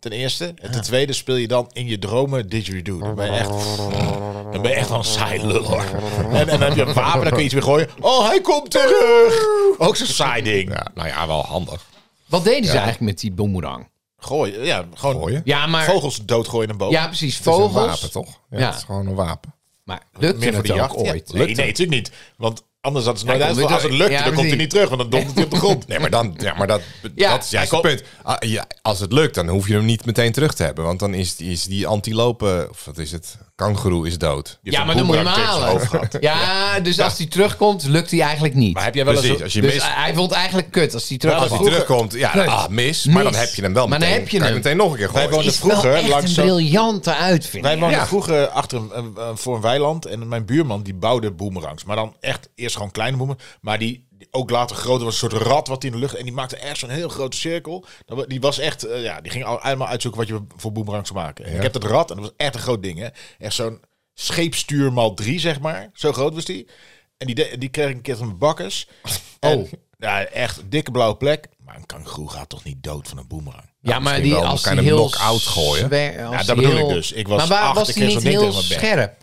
S1: Ten eerste. En ten tweede speel je dan in je dromen didgeridoo. Dan ben je echt, dan ben je echt wel een saai lul. hoor. En, en dan heb je een wapen, dan kun je iets weer gooien. Oh, hij komt terug! Ook zo'n saai ding.
S2: ja, nou ja, wel handig.
S3: Wat deden ze eigenlijk met die boemerang?
S1: Gooi, ja, gewoon
S2: Gooien?
S3: Ja, maar...
S1: vogels doodgooien naar boven.
S3: Ja, precies.
S2: Het is
S3: Vogels.
S2: een wapen, toch? Ja,
S3: Ja.
S2: Het is gewoon een wapen.
S3: Maar lukte het ook
S1: ja.
S3: ooit?
S1: Nee,
S3: Lukte
S1: nee,
S3: het?
S1: natuurlijk niet. Want anders had ze nooit
S3: Hij
S1: uit.
S3: komt
S1: Als het
S3: niet
S1: lukt,
S3: terug.
S1: dan
S3: Ja,
S1: komt hij
S3: precies.
S1: niet terug, want dan dondert hij op de
S3: [LAUGHS]
S1: grond.
S2: Nee, maar, dan, ja, maar dat,
S3: Ja.
S2: dat is juist
S1: Hij
S2: het
S1: kon-
S2: punt. Ah, ja, als het lukt, dan hoef je hem niet meteen terug te hebben. Want dan is, is die antilope, of wat is het, kangeroe is dood.
S1: Je
S3: Ja,
S1: hebt
S3: maar dan
S1: een
S3: moet je hem
S1: boemerang tegen zijn
S3: halen.
S1: hoofd gehad.
S3: Ja, dus als hij terugkomt, lukt hij eigenlijk niet.
S1: Maar heb jij wel eens...
S2: Precies,
S1: een-
S2: als je
S3: dus
S2: mist,
S3: hij vond het eigenlijk kut als hij
S1: Ja,
S3: terugkomt.
S2: als hij
S1: vroeger-
S2: terugkomt, ja,
S3: Kut.
S2: ah, mis, Maar
S3: Mis.
S2: dan heb je hem wel
S3: Maar
S2: meteen.
S3: dan heb je
S2: kan
S3: hem.
S2: meteen nog een keer
S1: Wij
S2: gooien.
S1: woonden
S3: is wel
S1: vroeger
S3: echt
S1: langs
S3: een
S1: zo'n-
S3: briljante uitvinding.
S1: Wij woonden
S2: Ja.
S1: vroeger achter een, een- een- voor een weiland en mijn buurman die bouwde boemerangs. Maar dan echt eerst gewoon kleine boemerangs. Maar die, die ook later groter was, een soort rat wat die in de lucht. En die maakte echt zo'n heel grote cirkel. Dat wa- Die was echt, eh, ja, die ging al- allemaal uitzoeken wat je voor boemerangs zou maken. En Ik heb dat rad en dat was echt een groot ding. Hè. Echt zo'n scheepstuur maal drie, zeg maar. Zo groot was die. En die, de- die kreeg ik een keer van mijn [LAUGHS] bakkers. En, ja, echt dikke blauwe plek. Maar een kangoeroe gaat toch niet dood van een [LAUGHS] boemerang?
S3: Ja, maar
S2: misschien
S3: die
S2: wel,
S3: als
S2: dan
S3: hij
S2: kan je hem
S3: heel
S2: knock-out gooien.
S3: zwer- als
S1: dat
S3: hij
S1: bedoel
S3: heel-
S1: ik dus. Ik was
S3: maar waar
S1: acht,
S3: was
S1: ik
S3: hij
S1: kreeg
S3: niet
S1: zo'n ding
S3: heel
S1: tegen mijn
S3: scherp?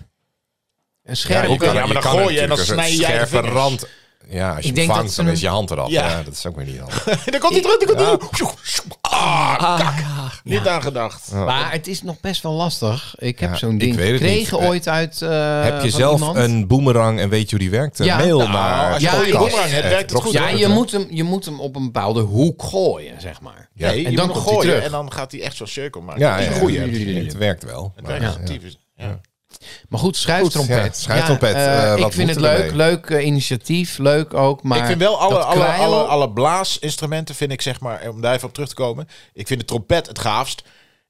S3: Een
S2: Ja,
S3: scherp.
S1: kan- ja, maar dan gooi je en dan
S2: natuurlijk
S1: snij je
S2: een
S1: je
S2: scherpe
S1: vingers.
S2: rand. Ja, als je
S3: Ik
S2: hem
S3: denk
S2: vangt,
S3: dat ze
S2: dan
S3: hem-
S2: is je hand eraf.
S1: Ja.
S2: Ja. dat is ook weer niet handig.
S1: En dan komt hij terug, dan komt hij terug. Ah, kak. Niet aan gedacht.
S3: Maar het is nog best wel lastig. Ik heb
S2: Ah. Ja,
S3: zo'n
S2: ik
S3: ding
S2: weet het
S3: gekregen
S2: niet.
S3: ooit uit eh,
S2: heb je
S3: van
S2: zelf
S3: iemand.
S2: een boemerang en weet je hoe die werkt?
S3: Ja.
S2: Mail
S3: Nou,
S2: naar
S1: als je
S3: ja,
S1: goede
S3: ik-
S1: boemerang hebt, werkt het
S2: eh,
S1: goed.
S3: Ja,
S1: hoor.
S3: je moet, hem, je moet hem op een bepaalde hoek gooien, zeg maar.
S2: Ja.
S1: Nee,
S2: En
S1: je
S3: dan
S1: moet
S3: komt
S1: hem
S3: hij
S1: gooien
S3: terug.
S1: en dan gaat hij echt zo'n cirkel maken.
S2: Ja,
S1: dat is een
S2: ja,
S1: goeie.
S2: ja,
S3: goeie.
S2: Het werkt wel.
S1: Het
S2: maar-
S1: werkt effectief is- ja.
S3: Maar goed, schuiftrompet.
S2: Goed, ja, schuiftrompet.
S3: Ja,
S2: Eh,
S3: ik
S2: wat
S3: vind het
S2: moeten we
S3: leuk.
S2: ermee?
S3: Leuk eh, initiatief. Leuk ook. Maar
S1: Ik vind wel alle,
S3: dat
S1: alle,
S3: kwijl-
S1: alle, alle blaasinstrumenten, vind ik zeg maar, om daar even op terug te komen. Ik vind de trompet het gaafst.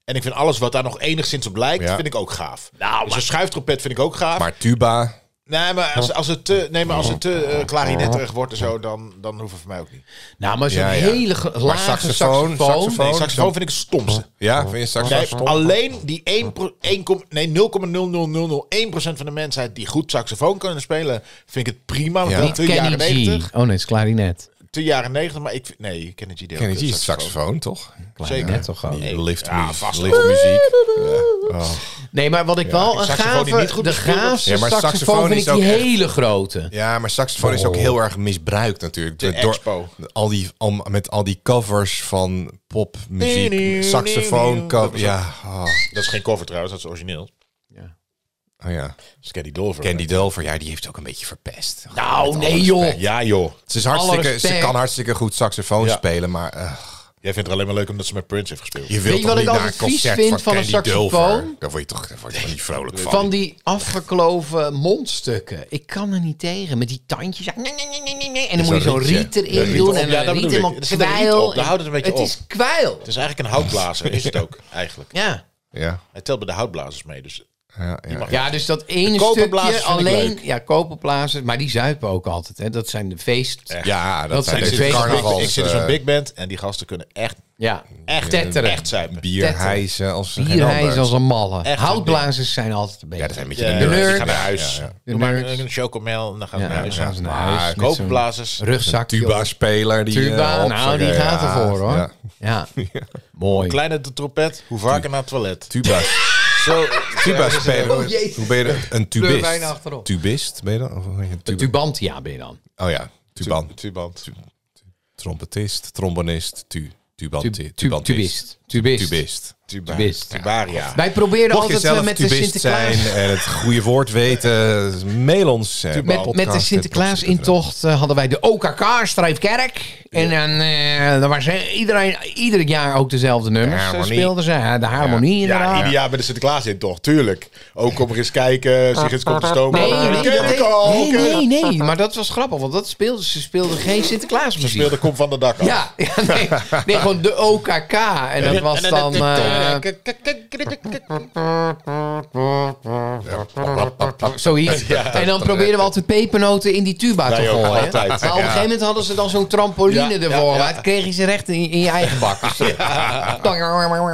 S1: En ik vind alles wat daar nog enigszins op lijkt,
S2: Ja.
S1: vind ik ook gaaf. dus een schuiftrompet vind ik ook gaaf.
S2: Maar tuba,
S1: nee, maar als, als het te, nee, maar als het te eh,
S3: Oh.
S1: klarinetterig wordt en zo, dan, dan hoeft het voor mij ook niet.
S3: Nou, maar zo'n
S2: Ja, ja.
S3: hele ge- lage
S2: saxofoon,
S3: saxofoon.
S2: saxofoon.
S1: Nee, saxofoon vind ik het stomste.
S2: ja, vind je straks
S1: Nee,
S2: wel-
S1: alleen die 1, pro- 1, kom- nee, 0,00001% van de mensheid die goed saxofoon kunnen spelen, vind ik het prima. Want
S2: Ja.
S1: dat wil
S3: Kenny
S1: jaren
S3: G.
S1: 90.
S3: Oh nee, het is klarinet.
S1: te jaren negentig, maar ik vind... Nee, Kennedy deed ook
S2: Kennedy
S1: het
S2: is saxofoon, toch?
S1: Zeker.
S3: net toch gewoon.
S2: Die
S1: Nee.
S2: Lift
S1: Ja,
S2: me,
S1: vast Oh.
S2: lift muziek.
S3: Nee, maar wat ik wel een
S1: saxofoon die
S3: gave,
S1: niet goed
S3: de
S1: gespeeld wordt.
S3: gaafste
S2: Ja, maar
S3: saxofoon,
S2: saxofoon
S3: vind
S2: is
S3: ik die
S2: ook echt-
S3: hele grote.
S2: Ja, maar saxofoon is ook
S3: Oh.
S2: heel erg misbruikt natuurlijk.
S1: De expo.
S2: Al die, al, met al die covers van popmuziek. Saxofoon, cover. Ja, oh,
S1: Dat is geen cover trouwens, dat is origineel.
S2: oh ja.
S1: Dat is Candy Dulfer.
S2: Candy Dulfer, ja, die heeft ook een beetje verpest.
S3: Nou, nee joh.
S1: Ja Oh, joh.
S2: Ze, is hartstikke, ze
S3: respect.
S2: kan hartstikke goed saxofoon
S1: Ja.
S2: spelen, maar eh,
S1: Jij vindt het alleen maar leuk omdat ze met Prince heeft gespeeld.
S2: je wilt
S3: je
S2: toch
S3: wat
S2: niet
S3: ik
S2: naar een
S3: altijd vies
S2: concert
S3: vind
S2: van,
S3: van een
S2: Candy Dulfer?
S3: saxofoon?
S2: Daar word je toch, daar word je toch niet vrolijk van?
S3: Van die afgekloven mondstukken. Ik kan er niet tegen. Met die tandjes. En dan moet je zo'n
S2: rietje.
S3: riet erin
S2: Ja, riet
S3: doen.
S1: erop.
S3: En
S1: Ja,
S3: dan
S1: dat
S3: riet
S1: bedoel ik.
S3: helemaal
S1: Er zit een riet
S3: kwijl.
S1: op. Dan houdt het een beetje
S3: Het
S1: op.
S3: is kwijl.
S1: Het is eigenlijk een houtblazer, is het ook eigenlijk.
S3: Ja.
S2: Ja,
S1: Hij telt bij de houtblazers mee, dus
S2: ja, ja.
S3: Ja, dus dat ene
S1: koperblazers
S3: stukje
S1: vind ik
S3: alleen.
S1: leuk.
S3: Ja, koperblazers. Maar die zuipen ook altijd. Hè. Dat zijn de feest...
S2: Ja, dat,
S3: Dat
S2: zijn
S3: zijn
S2: de
S3: de feesten.
S1: Ik,
S2: carnavals.
S1: ik zit dus in zo'n
S2: eh,
S1: big band en die gasten kunnen echt,
S3: Ja.
S1: echt,
S3: Tetteren.
S1: echt zuipen.
S2: bier
S3: tetten.
S2: hijsen als geen
S3: Bierhijs
S2: ander.
S3: als een malle.
S1: Echt een
S3: Houtblazers zijn altijd de
S2: Ja,
S3: beste.
S2: dat zijn een beetje
S1: Ja,
S2: de
S1: die
S2: nerds.
S3: nerds.
S1: gaan naar huis.
S2: Ja, ja.
S1: Doe maar
S3: nerds.
S1: een, een chocomel en dan gaan we
S3: Ja,
S1: naar huis.
S3: dan gaan ze naar
S1: Maar
S3: huis met zo'n
S1: Koopblazers.
S3: Rugzak. joh.
S2: Tuba-speler. Die,
S3: Tuba,
S2: eh,
S3: nou, die
S2: opzak-
S3: gaat
S2: ja,
S3: ervoor hoor.
S2: ja.
S3: Ja. Mooi.
S1: Kleine de trompet, hoe vaker naar het toilet.
S2: Tuba,
S1: Zo,
S2: tuba-speler.
S3: Oh, jezus.
S2: Hoe ben je dat? Een tubist.
S3: Kleur bijna achterop.
S2: Tubist, ben je dat? Of hoe heet het? Tuba-
S3: Tubantia ben je dan.
S2: oh ja, tuban.
S1: Tuband.
S2: Trompetist, trombonist, tu, tuban,
S3: Tub-
S2: tu-
S3: tub-
S2: tubantist.
S3: Tubist. Tubist.
S2: Tubist.
S1: Tuba-
S3: Tubist.
S1: Tubaria.
S3: Wij proberen
S2: Mocht je
S3: altijd eh,
S2: zelf
S3: met de
S2: tubist
S3: Sinterklaas...
S2: zijn en het goede woord weten, mail ons. eh,
S3: Met, met de
S2: podcast-
S3: Sinterklaas-intocht eh, hadden wij de OKK-strijfkerk. En dan, eh, dan was eh, iedereen ieder jaar ook dezelfde nummers.
S2: De
S3: eh,
S2: harmonie.
S3: speelden ze. Eh, De harmonie
S1: Ja,
S3: inderdaad.
S1: ieder jaar bij de Sinterklaas in toch, tuurlijk. Ook kom er eens kijken, zich eens komt te stomen.
S3: Nee, nee,
S1: Ken
S3: dat
S1: ik
S3: deed-
S1: al,
S3: nee,
S1: ken ik
S3: nee, nee, maar dat was grappig, want dat speelden ze speelden geen Sinterklaasmuziek.
S1: Speelde Kom van de Dak af.
S3: Ja, [LAUGHS] ja nee, nee, gewoon de OKK. En dat was dan... eh, Zoiets. En dan probeerden we altijd pepernoten in die tuba te
S1: Wij ook,
S3: gooien.
S1: altijd.
S3: Maar op een gegeven moment hadden ze dan zo'n trampoline
S1: Ja,
S3: ervoor.
S1: ja, ja.
S3: Maar het kreeg je ze recht in, in je eigen bak. Dus, ja.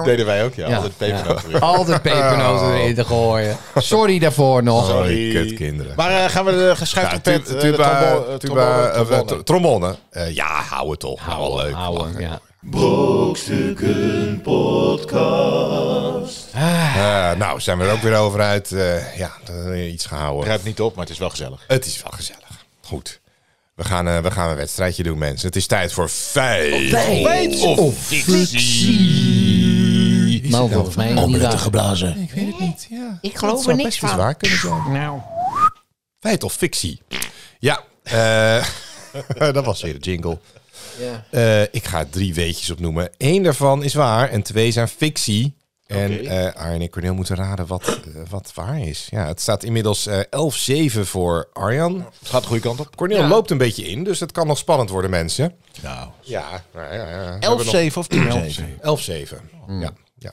S1: Deden wij ook, ja.
S3: Ja.
S1: Altijd pepernoten.
S3: Altijd pepernoten erin te gooien. Sorry daarvoor nog.
S2: Sorry,
S1: Sorry.
S2: kutkinderen.
S1: Maar eh, gaan we de
S2: Ja, tu-
S1: geschuifde pet, eh, de
S2: tuba,
S1: trombone-
S2: tuba,
S1: trombone-
S2: eh,
S1: trombone.
S2: trombone. Eh, Ja, hou het op. Nou, wel leuk.
S3: Ouwe, ja.
S4: Brokstukken Podcast.
S2: Eh, nou, zijn we er ook weer over uit. Eh, ja, dat is weer iets gehouden.
S1: Ruikt niet op, maar het is wel gezellig.
S2: Het is wel gezellig. Goed. We gaan, eh, we gaan een wedstrijdje doen, mensen. Het is tijd voor feit.
S3: Feit
S2: of fictie.
S3: Nou, volgens mij is niet waar.
S1: Nou,
S2: Ik weet het niet. Ja.
S3: Ik geloof
S2: Het zou best
S3: er niks
S2: eens
S3: van.
S2: waar kunnen zijn.
S3: Nou,
S2: Feit of fictie? Ja, eh, [LAUGHS] dat was weer de jingle.
S3: ja.
S2: Eh, ik ga drie weetjes opnoemen. Eén daarvan is waar en twee zijn fictie. En
S1: Oké.
S2: eh Arjen en Cornel moeten raden wat, eh, wat waar is. Ja, het staat inmiddels eh, 11-7 voor Arjan.
S1: Het gaat de goede kant op.
S2: Cornel
S3: Ja.
S2: loopt een beetje in, dus het kan nog spannend worden, mensen.
S1: Nou,
S2: Ja, ja, ja, ja.
S1: 11-7 of 10-7?
S2: 11-7.
S1: Hmm.
S2: Ja, ja.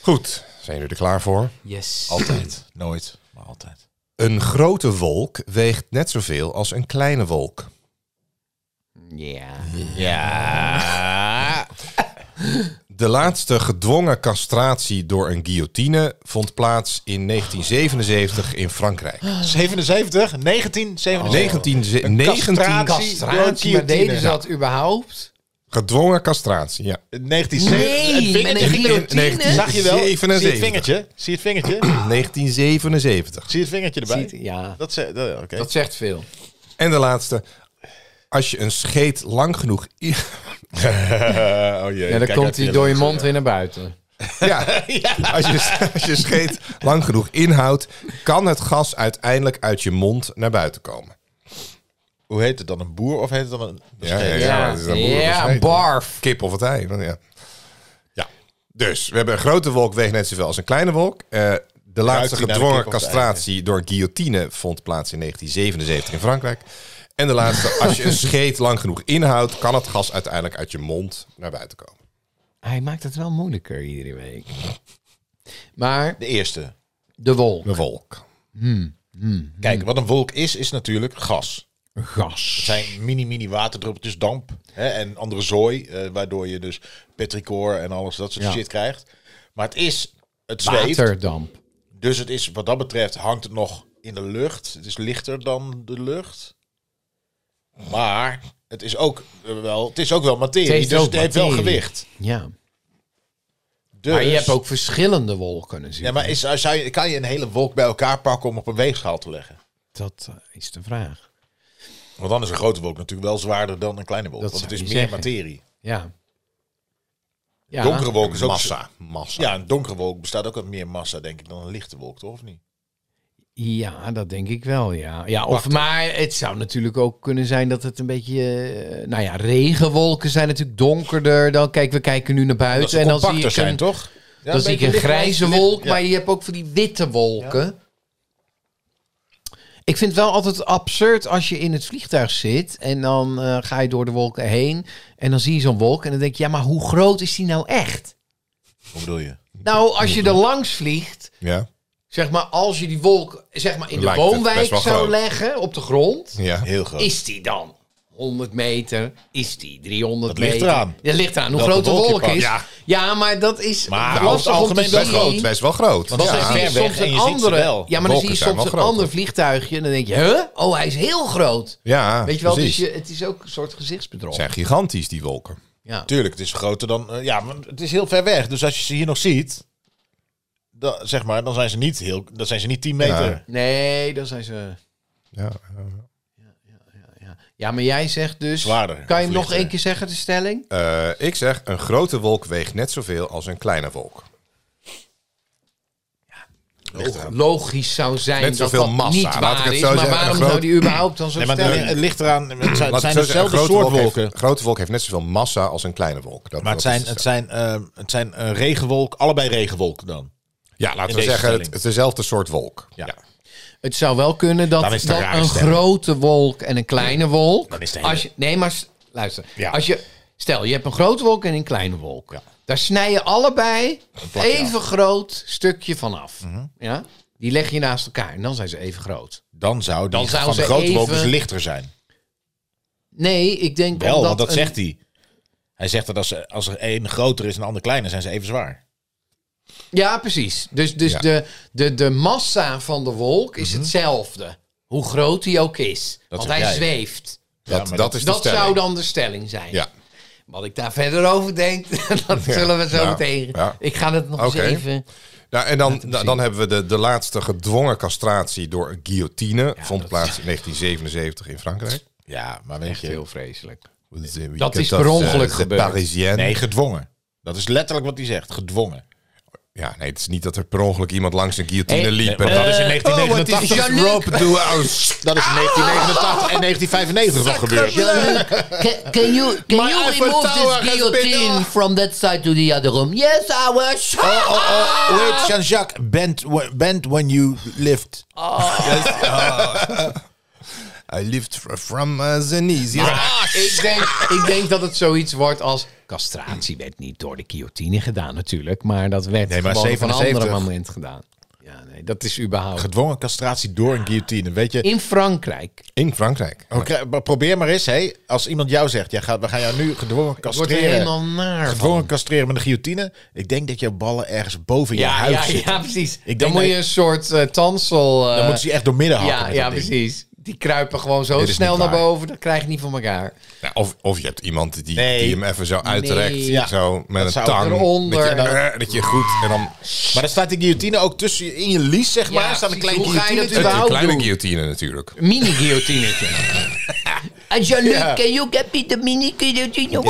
S2: Goed, zijn jullie er klaar voor?
S3: Yes.
S1: Altijd. Nooit, maar altijd.
S2: Een grote wolk weegt net zoveel als een kleine wolk.
S3: Ja.
S1: Ja.
S2: De laatste gedwongen castratie door een guillotine vond plaats in 1977 in Frankrijk.
S1: Oh. 77, 19, 77.
S2: 19, ze- 19
S1: castratie.
S3: Castratie, maar deden ze dat überhaupt?
S2: gedwongen castratie, ja.
S1: 1970.
S3: Nee, met een
S1: ging in.
S3: guillotine.
S1: Zag je wel? Zie je het
S2: 77.
S1: vingertje? Zie je het
S3: [CLEARS THROAT]
S1: vingertje?
S2: 1977.
S1: Zie je het vingertje erbij?
S3: Ziet- Ja,
S1: Dat ze, dat, oké. [LAUGHS]
S3: dat zegt veel.
S2: En de laatatste. Als je een scheet lang genoeg... i- [LAUGHS]
S1: oh jee.
S3: Ja, dan komt hij door je mond weer naar buiten.
S1: [LAUGHS]
S2: Ja, als je, als je scheet lang genoeg inhoudt... kan het gas uiteindelijk uit je mond naar buiten komen.
S1: Hoe heet het dan? Een boer of heet het dan een...
S2: Ja, ja,
S3: Ja,
S2: ja, dat is dan moeilijk
S3: Ja,
S2: te scheiden.
S3: barf.
S2: Kip of het ei. want Ja. ja. Dus we hebben een grote wolk, weegt net zoveel als een kleine wolk. Eh, de laatste
S1: hij naar de
S2: gedwongen
S1: kip of het ei,
S2: castratie door guillotine vond plaats in 1977 in Frankrijk. En de laatste, als je een scheet lang genoeg inhoudt, kan het gas uiteindelijk uit je mond naar buiten komen.
S3: Hij maakt het wel moeilijker iedere week. Maar
S1: De eerste.
S3: de wol.
S2: De wolk.
S1: Kijk, wat een wolk is, is natuurlijk gas.
S3: Gas.
S1: zijn mini-mini waterdruppeltjes damp hè, en andere zooi, eh, waardoor je dus petrichor en alles dat soort
S3: Ja.
S1: shit krijgt. Maar het is, het zweeft,
S3: Waterdamp.
S1: dus het is wat dat betreft hangt het nog in de lucht. Het is lichter dan de lucht, maar Het is ook eh, wel, het is ook wel materie,
S3: Het heeft
S1: dus
S3: ook
S1: het heeft wel
S3: materie.
S1: gewicht.
S3: Ja.
S1: Dus,
S3: Maar je hebt ook verschillende wolken
S1: Ja,
S3: natuurlijk.
S1: maar is, zou je, kan je een hele wolk bij elkaar pakken om op een weegschaal te leggen?
S3: Dat eh, is de vraag.
S1: Want dan is een grote wolk natuurlijk wel zwaarder dan een kleine wolk.
S3: Dat
S1: want het
S3: zou
S1: is meer
S3: ik zeggen.
S1: materie.
S3: Ja. Ja.
S1: Donkere wolk is ook
S2: Massa. Massa.
S1: Ja, een donkere wolk bestaat ook uit meer massa, denk ik, dan een lichte wolk, toch? Of niet?
S3: Ja, dat denk ik wel, ja. ja of, maar het zou natuurlijk ook kunnen zijn dat het een beetje... eh, nou ja, regenwolken zijn natuurlijk donkerder dan... Kijk, we kijken nu naar buiten
S1: Dat ze
S3: en dan zie
S1: compacter
S3: ik
S1: zijn,
S3: een,
S1: toch? Ja,
S3: dan zie ik
S1: beetje
S3: een
S1: licht-
S3: grijze
S1: licht-
S3: wolk,
S1: ja.
S3: maar je hebt ook van die witte wolken. Ik vind het wel altijd absurd als je in het vliegtuig zit en dan eh, ga je door de wolken heen en dan zie je zo'n wolk en dan denk je, ja, maar hoe groot is die nou echt?
S1: Hoe bedoel je?
S3: Nou, als je er langs vliegt,
S2: Ja.
S3: zeg maar, als je die wolk zeg maar, in de
S2: Lijkt het
S3: woonwijk
S2: best wel
S3: zou
S2: groot.
S3: leggen op de grond,
S2: Ja.
S1: Heel groot.
S3: is die dan 100 meter? Is die 300
S1: Dat
S3: meter?
S1: ligt eraan.
S3: Dat ligt eraan hoe
S1: Welke
S3: groot de
S1: wolk je
S3: wolk
S1: pakt.
S3: is.
S2: Ja.
S3: Ja. maar dat is
S1: Maar
S3: lastig
S1: over
S3: om
S1: het
S3: te
S1: algemeen wel
S2: Best,
S3: zien.
S2: groot, best wel groot.
S1: Want
S2: ja.
S1: dat is ver
S3: Soms
S1: weg en
S3: een
S1: je ziet ze
S3: andere,
S1: wel.
S3: ja, maar dan zie je
S2: Wolken zijn
S3: soms een
S2: wel groot,
S3: ander
S2: hoor.
S3: vliegtuigje en dan denk je, huh? Oh, hij is heel groot.
S2: Ja,
S3: Weet je wel,
S2: precies.
S3: dus je, het is ook een soort gezichtsbedrog.
S2: zijn gigantisch, die wolken.
S3: Ja.
S1: Tuurlijk, het is groter dan... eh, ja, maar het is heel ver weg. Dus als je ze hier nog ziet, dan, zeg maar, dan zijn ze niet, heel, dan zijn ze niet 10 meter.
S2: Ja.
S3: Nee, dan zijn ze...
S2: Ja.
S3: Ja. ja, maar jij zegt dus...
S1: Zwaarder,
S3: kan je hem nog
S1: vliegtuig.
S3: één keer zeggen, de stelling?
S2: Eh, ik zeg, een grote wolk weegt net zoveel als een kleine wolk.
S3: Logisch zou zijn
S2: Net
S3: dat
S2: zoveel
S3: dat
S2: massa,
S3: niet
S2: laat ik
S3: waar
S2: het
S3: is.
S2: zo
S3: Maar
S2: zeggen,
S3: waarom
S2: een groot-
S3: zou die überhaupt dan zo
S1: Nee, maar het,
S3: stellen?
S1: het ligt eraan... Het
S2: Laat
S1: zijn, het
S2: ik
S1: zijn
S2: zo zeggen,
S1: dezelfde
S2: een grote
S1: soort
S2: wolk heeft-
S1: wolken.
S2: Een grote wolk heeft net zoveel massa als een kleine wolk. Dat,
S1: Maar het
S2: dat is
S1: zijn, het
S2: stelling.
S1: zijn, eh, het zijn eh, regenwolk, allebei regenwolken dan.
S2: ja, laten we
S1: deze
S2: zeggen, het,
S1: stelling.
S2: het is dezelfde soort wolk.
S1: Ja.
S3: Het zou wel kunnen
S1: Dan
S3: dat,
S1: is het een
S3: dat
S1: rare
S3: een
S1: stelling.
S3: grote wolk en een kleine wolk.
S1: Dan is het een
S3: als je, nee, maar s- luister.
S1: Ja.
S3: Als je, stel, je hebt een grote wolk en een kleine wolk.
S1: Ja.
S3: Daar snij je allebei
S1: plakje Mhm.
S3: even groot stukje van af. ja? Die leg je naast elkaar en dan zijn ze even groot.
S1: Dan zou die
S3: Dan zou
S1: van de
S3: ze
S1: grote wolk
S3: even-
S1: dus lichter zijn.
S3: Nee, ik denk
S1: Wel,
S3: omdat
S1: want dat
S3: een-
S1: zegt hij. Hij zegt dat als, ze- als er één groter is en de ander kleiner, zijn ze even zwaar.
S3: Ja, precies. Dus, dus
S2: Ja.
S3: de, de, de massa van de wolk is hetzelfde. Hoe groot die ook is. want
S1: Mhm. zeg
S3: hij
S1: jij.
S3: zweeft. Dus
S1: Ja,
S2: Dat, dat
S1: maar dat-
S2: is de
S3: Dat
S2: stelling.
S3: zou dan de stelling zijn.
S2: Ja.
S3: Wat ik daar verder over denk, [LAUGHS] dat zullen we zo
S2: nou,
S3: meteen.
S2: ja.
S3: Ik ga het nog
S2: Oké.
S3: eens even.
S2: Nou, en dan, dan, dan hebben we de, de laatste gedwongen castratie door guillotine. vond plaats in 1977 in Frankrijk. Dus, eh,
S1: Ja, maar weet je...
S3: Heel vreselijk.
S2: Dat
S3: is per ongeluk gebeurd.
S1: Nee, gedwongen. Dat is letterlijk wat hij zegt, gedwongen.
S2: Ja, nee, het is niet dat er per ongeluk iemand langs een guillotine
S3: Hey,
S2: liep.
S1: Want
S2: en dan-
S1: dat Eh, is in
S2: Oh, wat is
S1: 1989.
S3: Jean-Luc.
S2: this rope do I-
S1: Dat is in 1989 en 1995 nog gebeurd.
S5: Can, can you can
S2: My
S5: you
S2: Eiffel
S5: remove
S2: Tower
S5: this
S2: has been-
S5: guillotine from that side to the other room? Yes, I will.
S1: Oh, oh, oh, wait, Jean-Jacques, bent, bent when you lived.
S2: I lived fr- from uh, the knees. Yes.
S3: Ik denk, ik denk dat het zoiets wordt als. Castratie werd niet door de guillotine gedaan, natuurlijk. Maar dat werd
S1: Nee, maar
S3: gewoon op een
S1: 77.
S3: ander moment gedaan. Ja, nee, dat is überhaupt.
S1: Gedwongen castratie door een guillotine, weet je.
S3: In Frankrijk.
S2: In Frankrijk.
S1: Maar krijg- maar probeer maar eens, hé, als iemand jou zegt, ja, ga, we gaan jou nu gedwongen
S3: Ik word er helemaal
S1: castreren.
S3: naar. van.
S1: Gedwongen castreren met een guillotine. Ik denk dat jouw ballen ergens boven je
S3: Ja,
S1: huid
S3: ja,
S1: zitten.
S3: ja, precies.
S1: denk
S3: dan
S1: dat
S3: moet je
S1: je-
S3: een soort eh, tansel. eh,
S1: Dan moeten ze je echt door midden hakken.
S3: ja,
S1: met
S3: ja
S1: dat ding.
S3: precies. Die kruipen gewoon zo
S2: Dit is
S3: snel
S2: niet
S3: naar
S2: waar.
S3: boven. Dat krijg je niet van elkaar.
S2: Nou, of, of je hebt iemand die,
S1: Nee.
S2: die hem even zo uitrekt.
S3: Nee.
S1: Ja.
S2: Zo met
S1: Dat
S2: een
S1: zou
S2: tang.
S3: eronder.
S2: Dat je, eh, dat je goed. En dan
S1: Maar dan staat die guillotine ook tussen je, in je lies, zeg maar.
S3: Ja,
S1: staat een
S3: precies.
S1: klein
S3: Hoe ga je
S1: guillotine.
S3: dat
S1: tussen.
S2: Het is een
S3: überhaupt
S2: kleine
S3: doen?
S2: guillotine natuurlijk.
S1: [LAUGHS]
S3: Mini-guillotinetje.
S5: Uh, Jean-Luc,
S1: Yeah.
S5: can you get me the mini guillotine?
S1: Dat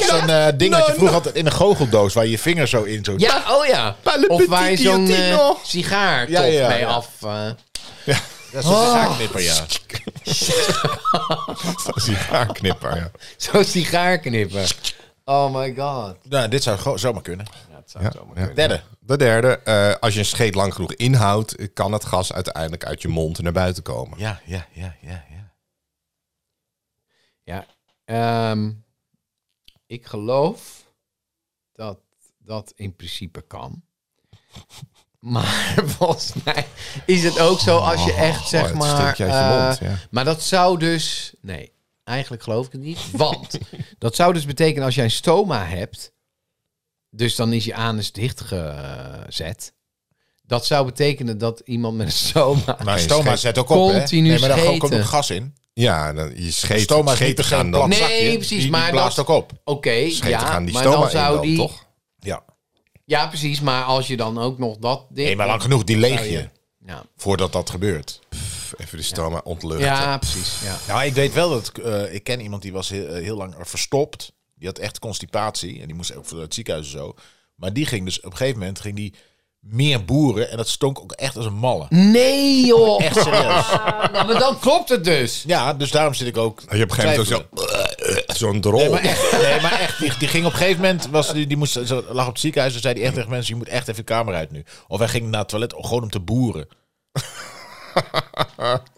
S1: is Zo'n eh, ding dat je vroeger altijd in een goocheldoos waar je je vinger zo in zo.
S3: Nou. ja, oh ja.
S1: Palle
S3: Of waar je
S1: petit
S3: zo'n eh,
S1: guillotine.
S3: sigaar
S1: Ja, ja,
S3: mee
S1: ja.
S3: af... eh, [LAUGHS]
S1: Dat is
S3: Oh.
S1: een zaakknipper, ja.
S2: Sigaarknipper. [LAUGHS] Ja.
S3: zo'n sigaar knippen. Oh my god.
S1: Nou, dit zou gewoon zomaar kunnen. Derde.
S2: De derde, eh, als je een scheet lang genoeg inhoudt, kan het gas uiteindelijk uit je mond naar buiten komen.
S1: Ja, ja, ja, ja. ja.
S3: Ja. ehm, ik geloof dat dat in principe kan. [LAUGHS] Maar [LAUGHS] volgens mij is het ook zo als je echt
S2: Oh,
S3: zeg
S2: het
S3: maar.
S2: stinkt je uit je
S3: eh,
S2: mond, ja.
S3: Maar dat zou dus. Nee, eigenlijk geloof ik het niet.
S2: [LAUGHS]
S3: Want dat zou dus betekenen als jij een stoma hebt. Dus dan is je anus dichtgezet. Dat zou betekenen dat iemand met een stoma.
S1: Maar
S2: Geen
S1: stoma
S2: Nou, scheet.
S1: zet ook op, hè?
S3: Continu
S1: maar daar
S3: scheten.
S1: komt ook gas in.
S2: Ja, dan, je scheet,
S1: Stoma is niet
S2: scheten
S1: geen
S2: gaan dan.
S1: plat zakje.
S3: Nee, precies,
S1: Die- die
S3: maar
S1: blaast
S3: dat-
S1: ook op.
S3: Oké,
S2: Scheten
S3: ja,
S2: gaan die
S3: maar
S2: stoma
S3: dan
S2: in
S3: zou
S2: dan,
S3: die...
S2: toch?
S1: Ja.
S3: Ja, precies, maar als je dan ook nog dat ding...
S1: Nee, maar lang genoeg,
S3: Oh,
S1: die leeg je.
S3: Ja,
S1: Voordat dat gebeurt.
S2: Pff, Even de stoma ontluchten.
S3: ja precies, ja.
S1: Nou, ik weet wel dat ik, eh, ik ken iemand die was heel, eh, heel lang verstopt. Die had echt constipatie en die moest ook voor het ziekenhuis en zo. Maar die ging dus op een gegeven moment ging die meer boeren en dat stonk ook echt als een malle.
S3: Nee, joh!
S1: Echt
S2: [LAUGHS]
S1: serieus.
S3: [LAUGHS] Ja, maar dan klopt het dus.
S1: Ja, dus daarom zit ik ook.
S2: Je hebt op een gegeven moment ook zo- [LAUGHS] zo'n drol.
S1: Nee, maar echt, nee, maar echt die, die ging op een gegeven moment, was, die, die moest, ze lag op het ziekenhuis en zei die echt tegen mensen, je moet echt even je kamer uit nu. Of hij ging naar het toilet gewoon om te boeren.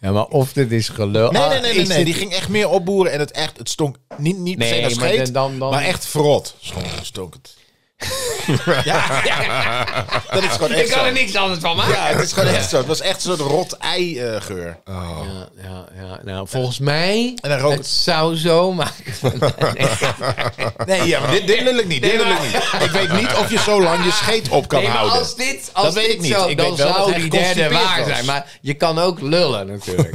S3: Ja, maar of dit is gelul...
S1: Nee,
S3: Ah,
S1: nee, nee,
S3: ik
S1: nee, nee.
S3: zit-
S1: die ging echt meer opboeren en het, echt, het stonk niet, niet per se
S3: Nee,
S1: naar
S3: maar
S1: scheet, maar,
S3: dan- dan-
S1: echt verrot. Stonk, stonk het. [LAUGHS] ja, dat is gewoon echt
S3: Ik kan
S1: zo.
S3: er niks anders van maken.
S1: Ja, het is gewoon echt zo. Het was echt zo'n rot ei-geur.
S3: Ja, ja, ja. Nou, volgens mij...
S1: En dan rook
S3: Het
S1: het-
S3: zou zo maken.
S1: Nee, ja, maar dit, dit wil ik niet. Dit
S3: Nee,
S1: wil ik
S3: maar-
S1: niet. Ik weet niet of je zo lang je scheet op kan
S3: nee, maar
S1: houden.
S3: als dit, als
S1: Dat weet
S3: dit
S1: ik niet.
S3: zo,
S1: Ik
S3: dan
S1: weet wel dat
S3: zou
S1: hij
S3: die derde
S1: geconstipeerd
S3: waar
S1: was.
S3: zijn. Maar je kan ook lullen natuurlijk.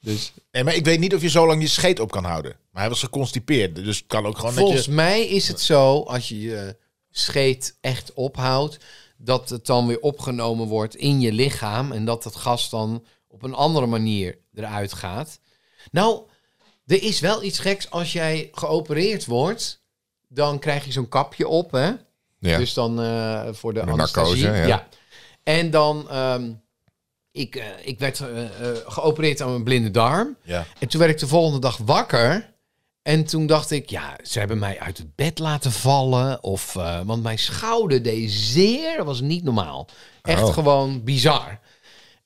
S3: dus
S1: Nee, maar ik weet niet of je zo lang je scheet op kan houden. Maar hij was geconstipeerd, dus het kan ook gewoon
S3: volgens
S1: dat je...
S3: mij is het zo, als je je scheet echt ophoudt, dat het dan weer opgenomen wordt in je lichaam en dat het gas dan op een andere manier eruit gaat. Nou, er is wel iets geks als jij geopereerd wordt, dan krijg je zo'n kapje op, hè?
S2: Ja.
S3: Dus dan eh, voor de
S2: Met
S3: anesthesie.
S2: narcose, ja.
S3: En dan, ehm, ik, eh, ik werd eh, eh, geopereerd aan mijn blinde darm.
S1: Ja.
S3: En toen werd ik de volgende dag wakker. En toen dacht ik, ja, ze hebben mij uit het bed laten vallen. Of, eh, want mijn schouder deed zeer. Dat was niet normaal. Echt
S2: Oh.
S3: gewoon bizar.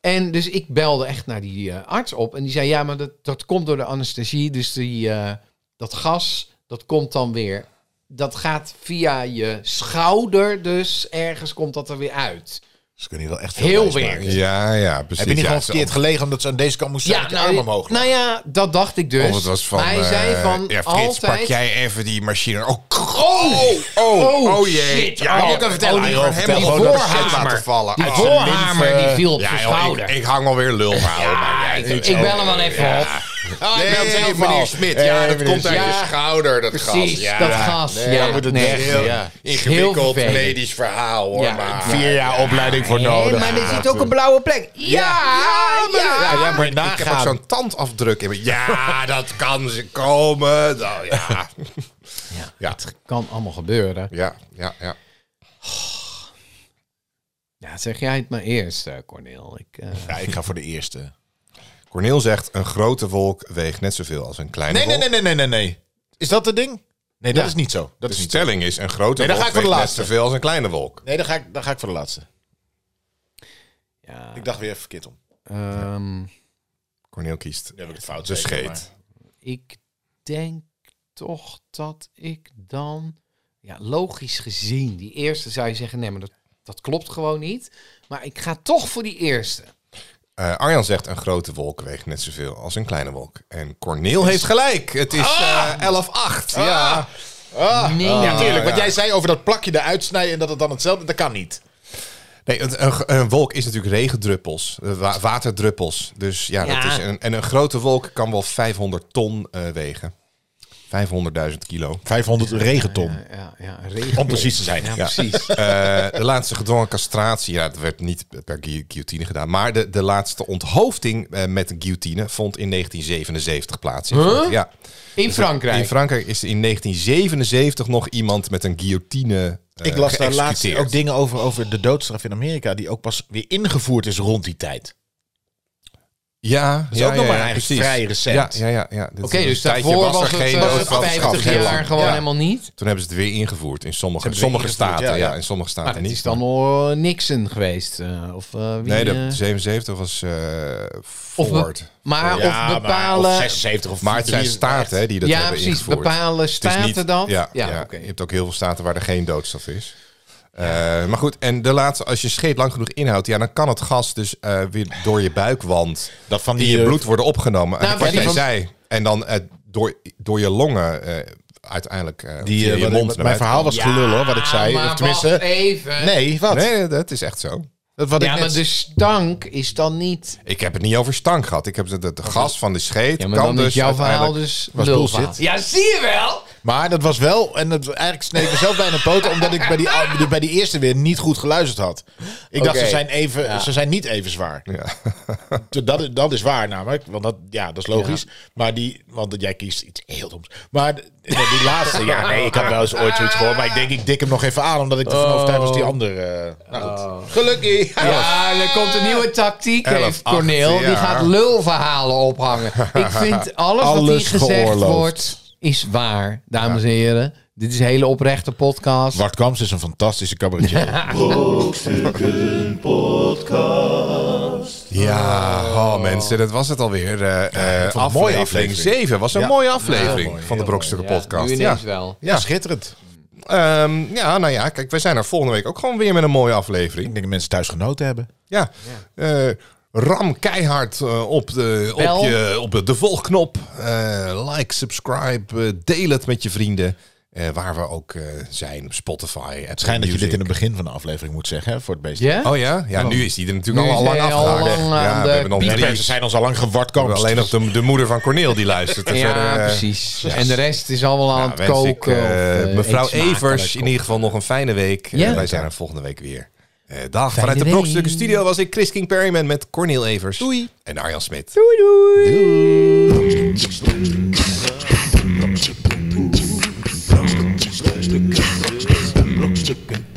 S3: En dus ik belde echt naar die eh, arts op. En die zei, ja, maar dat, dat komt door de anesthesie. Dus die, eh, dat gas, dat komt dan weer... Dat gaat via je schouder dus. Ergens komt dat er weer uit.
S1: Ze kunnen hier wel echt veel
S3: Heel
S1: wijs
S3: weer.
S1: maken.
S2: ja, ja, precies.
S1: Heb je niet
S2: ja,
S1: gewoon
S2: zo-
S1: verkeerd gelegen omdat ze aan deze kant moesten zijn? Ja, nou, armen mogelijk.
S3: nou ja, dat dacht ik dus.
S2: Of het was van...
S3: maar hij
S2: eh,
S3: zei van,
S2: ja, Frits,
S3: altijd...
S2: pak jij even die machine. Oh, oh, oh, oh jee.
S3: shit.
S2: Ja,
S3: Oh,
S2: ik kan vertellen.
S1: oh,
S2: die
S1: joh,
S2: gewoon
S1: vertel
S2: helemaal die
S1: gewoon dat
S2: voorhamer.
S1: shit laten
S2: vallen.
S3: Die
S2: Uit zijn
S3: voorhamer
S2: lymfe.
S3: die viel op
S2: joh,
S3: zijn
S2: ik-
S3: schouder.
S2: Ik, hang alweer lulverhalen.
S3: ja, ik, ik bel hem wel even op.
S2: Ah, ik ben zelf
S1: helemaal.
S2: meneer Smit. Ja,
S1: Eh,
S2: dat
S1: meneer
S2: komt uit
S3: Smit.
S2: je
S3: Ja,
S2: schouder, dat
S3: Precies,
S2: gas. Ja,
S3: dat gas.
S2: Nee,
S3: ja,
S2: dan moet het
S3: nee.
S2: echt heel
S3: Ja. Heel
S2: ingewikkeld
S3: vervelend.
S2: medisch verhaal, hoor.
S3: Ja.
S2: maar.
S1: Vier jaar opleiding voor
S2: Oh,
S3: Nee,
S1: nodig.
S3: maar er zit ook een blauwe plek. Ja, ja,
S2: Ja, ja, maar
S1: nagaan.
S2: ik heb ook zo'n tandafdruk. in mijn- Ja, dat kan ze komen. Nou, ja. Ja.
S3: Kan allemaal gebeuren.
S2: ja, ja, ja.
S3: Ja, zeg jij het maar eerst, eh, Corneel. Ik, eh,
S1: Ja, ik ga voor de eerste.
S2: Corneel zegt, een grote wolk weegt net zoveel als een kleine
S1: Nee, nee,
S2: wolk.
S1: nee, nee, nee, nee, nee. Is dat het ding? Nee, dat
S3: Ja.
S1: is niet zo. Dat
S2: De
S1: is niet zo.
S2: stelling is, een grote
S1: Nee, dan
S2: wolk
S1: ga ik voor de
S2: weegt net
S1: laatste.
S2: zoveel als een kleine wolk.
S1: Nee, dan ga, ik, dan ga ik voor de laatste.
S3: ja,
S1: Ik dacht weer even verkeerd om.
S3: ehm,
S2: Corneel kiest
S1: Nu heb ik het fout.
S2: de
S1: zeker,
S2: scheet.
S1: maar-
S3: ik denk toch dat ik dan... Ja, logisch gezien, die eerste zou je zeggen... Nee, maar dat, dat klopt gewoon niet. Maar ik ga toch voor die eerste.
S2: Eh, Arjan zegt, een grote wolk weegt net zoveel als een kleine wolk. En Corneel heeft gelijk. Het is
S1: Ah!
S2: eh 11-8. Ja.
S3: nee.
S1: Ja, natuurlijk. Wat
S2: Ah, ja.
S1: jij zei over dat plakje eruit snijden en dat het dan hetzelfde... Dat kan niet.
S2: Nee, want een, een wolk is natuurlijk regendruppels, eh, wa- waterdruppels. Dus ja, Dat
S3: Ja.
S2: is een, en een grote wolk kan wel 500 ton eh, wegen. 500.000 kilo.
S1: 500 regenton.
S3: Ja, ja, regel.
S1: Om precies te zijn.
S3: Ja,
S1: Ja.
S3: precies.
S2: Eh, de laatste gedwongen castratie, ja, dat werd niet per gui- guillotine gedaan. Maar de, de laatste onthoofding eh, met een guillotine vond in 1977 plaats. In Frankrijk. Ja.
S3: In Frankrijk.
S2: In Frankrijk is er in 1977 nog iemand met een guillotine eh,
S1: Ik las daar laatst
S2: geëxecuteerd.
S1: ook dingen over, over de doodstraf in Amerika... die ook pas weer ingevoerd is rond die tijd.
S2: Ja, dat
S1: is ook nog maar eigenlijk vrij recent.
S2: Ja, ja, ja. ja. Dit is
S3: Oké,
S2: een
S3: dus
S2: tijdje
S3: daarvoor was
S2: er
S3: het, eh,
S2: dood van
S3: 50
S2: schap.
S3: jaar gewoon
S2: Ja.
S3: helemaal niet.
S2: Toen hebben ze het weer ingevoerd in sommige,
S1: Ze hebben
S2: sommige
S1: het weer
S2: staten.
S1: ingevoerd,
S2: ja,
S1: ja, ja.
S2: in sommige staten
S3: Maar het
S2: niet.
S3: Nou, is dan al eh, Nixon geweest. eh, of eh, wie,
S2: nee,
S3: eh,
S2: de 77 was eh
S3: of be-
S2: Ford.
S3: maar
S1: Ja,
S3: of
S1: maar-
S3: bepalen...
S1: of 76 of
S2: maar het zijn
S1: 73.
S2: staten hè, die dat
S3: ja,
S2: hebben
S3: precies.
S2: ingevoerd.
S3: Bepalen
S2: Het is
S3: staten
S2: niet-
S3: dat.
S2: Ja,
S3: ja,
S2: ja.
S3: oké.
S2: je hebt ook heel veel staten waar er geen doodstraf is. Eh, maar goed, en de laatste, als je scheet lang genoeg inhoudt, ja, dan kan het gas dus eh, weer door je buikwand
S1: Dat van
S2: in
S1: die...
S2: je
S1: eh,
S2: bloed worden opgenomen.
S3: Nou,
S2: en wat
S3: precies.
S2: jij zei. En dan eh, door, door je longen eh, uiteindelijk eh,
S1: die,
S2: via
S1: eh,
S2: je
S1: wat-
S2: mond
S1: mijn verhaal was gelul, hoor, wat ik zei.
S3: Nou, Maar
S1: Of tenminste...
S3: wacht even.
S1: Nee, wat?
S2: Nee, dat is echt zo.
S1: Dat wat
S3: Ja,
S1: ik
S3: maar
S1: net...
S3: de stank is dan niet...
S2: Ik heb het niet over stank gehad. Ik heb het, het gas van de scheet.
S3: Ja, maar
S2: kan
S3: dan
S2: dus
S3: is jouw verhaal
S2: uiteindelijk-
S3: dus
S1: was
S3: lulverhaal.
S1: bullshit.
S3: Ja, zie je wel?
S1: Maar dat was wel, en dat, eigenlijk sneed ik mezelf bijna poten, omdat ik bij die, al- bij die eerste weer niet goed geluisterd had. Ik dacht,
S3: Oké.
S1: ze zijn, even, ze zijn niet even zwaar. [LAUGHS] T- Dat, dat is waar namelijk, want dat, ja, dat is logisch. Maar die, want jij kiest iets heel doms. Maar d- nee, die [LAUGHS] laatste, ja nee, ik had wel eens ooit zoiets gehoord, maar ik denk, ik dik hem nog even aan, omdat ik ervan overtuigd was die andere. eh, nou goed. Oh. Gelukkig! [LAUGHS]
S3: Ja, er komt een nieuwe tactiek,
S2: Elf,
S3: heeft
S2: acht,
S3: Corneel. Die
S2: ja.
S3: gaat lulverhalen
S2: [LAUGHS]
S3: ophangen. Ik vind alles, wat
S1: Alles
S3: hier gezegd
S1: geoorloofd.
S3: wordt, is waar, dames en heren. Dit is een hele oprechte podcast.
S1: Bart Kamps is een fantastische cabaretier.
S4: Brokstukken Podcast.
S2: Ja, oh, mensen, dat was het alweer. eh eh,
S1: vond het een mooie
S2: aflevering,
S1: aflevering.
S2: 7 was een
S1: Ja.
S2: mooie aflevering
S1: Heel mooi,
S2: van de
S1: heel
S2: Brokstukken Podcast.
S3: nu
S2: Ja.
S3: ineens wel.
S1: Ja, schitterend.
S2: Ehm, ja, nou ja, kijk, wij zijn er volgende week ook gewoon weer met een mooie
S1: Ik
S2: aflevering.
S1: denk dat mensen thuis genoten hebben.
S2: Ja. Eh, ram keihard eh, op, de, op,
S3: Bel.
S2: je, op de volgknop. Eh, like, subscribe, eh, deel het met je vrienden. Eh, waar we ook eh, zijn op Spotify. Het
S1: Schijn dat je dit in het begin van de aflevering moet zeggen, hè, voor het beest.
S3: Ja?
S2: Oh ja? Ja, nu is die er natuurlijk
S3: Nu
S2: al,
S3: is
S2: lang
S3: hij al
S2: afgehaakt.
S3: lang aan
S2: ja,
S3: de
S2: we hebben nog
S1: Die
S2: drie-
S1: mensen zijn ons al lang
S2: we
S1: gewartkampt.
S2: hebben alleen nog de, de moeder van Corneel die luistert. En verder,
S3: Ja,
S2: eh,
S3: precies. En de rest is allemaal aan
S2: nou,
S3: het
S2: wens
S3: koken.
S2: ik, eh,
S3: of, eh,
S2: mevrouw
S3: eet smakelijk.
S2: Evers in ieder geval nog een fijne week. Eh,
S3: Ja.
S2: wij zijn er volgende week weer. Eh, dag. Vanuit de
S3: week.
S2: Brokstukken Studio was ik Chris King Perryman met Corneel Evers. En Arjan Smit.
S4: Brokstukken. Brokstukken.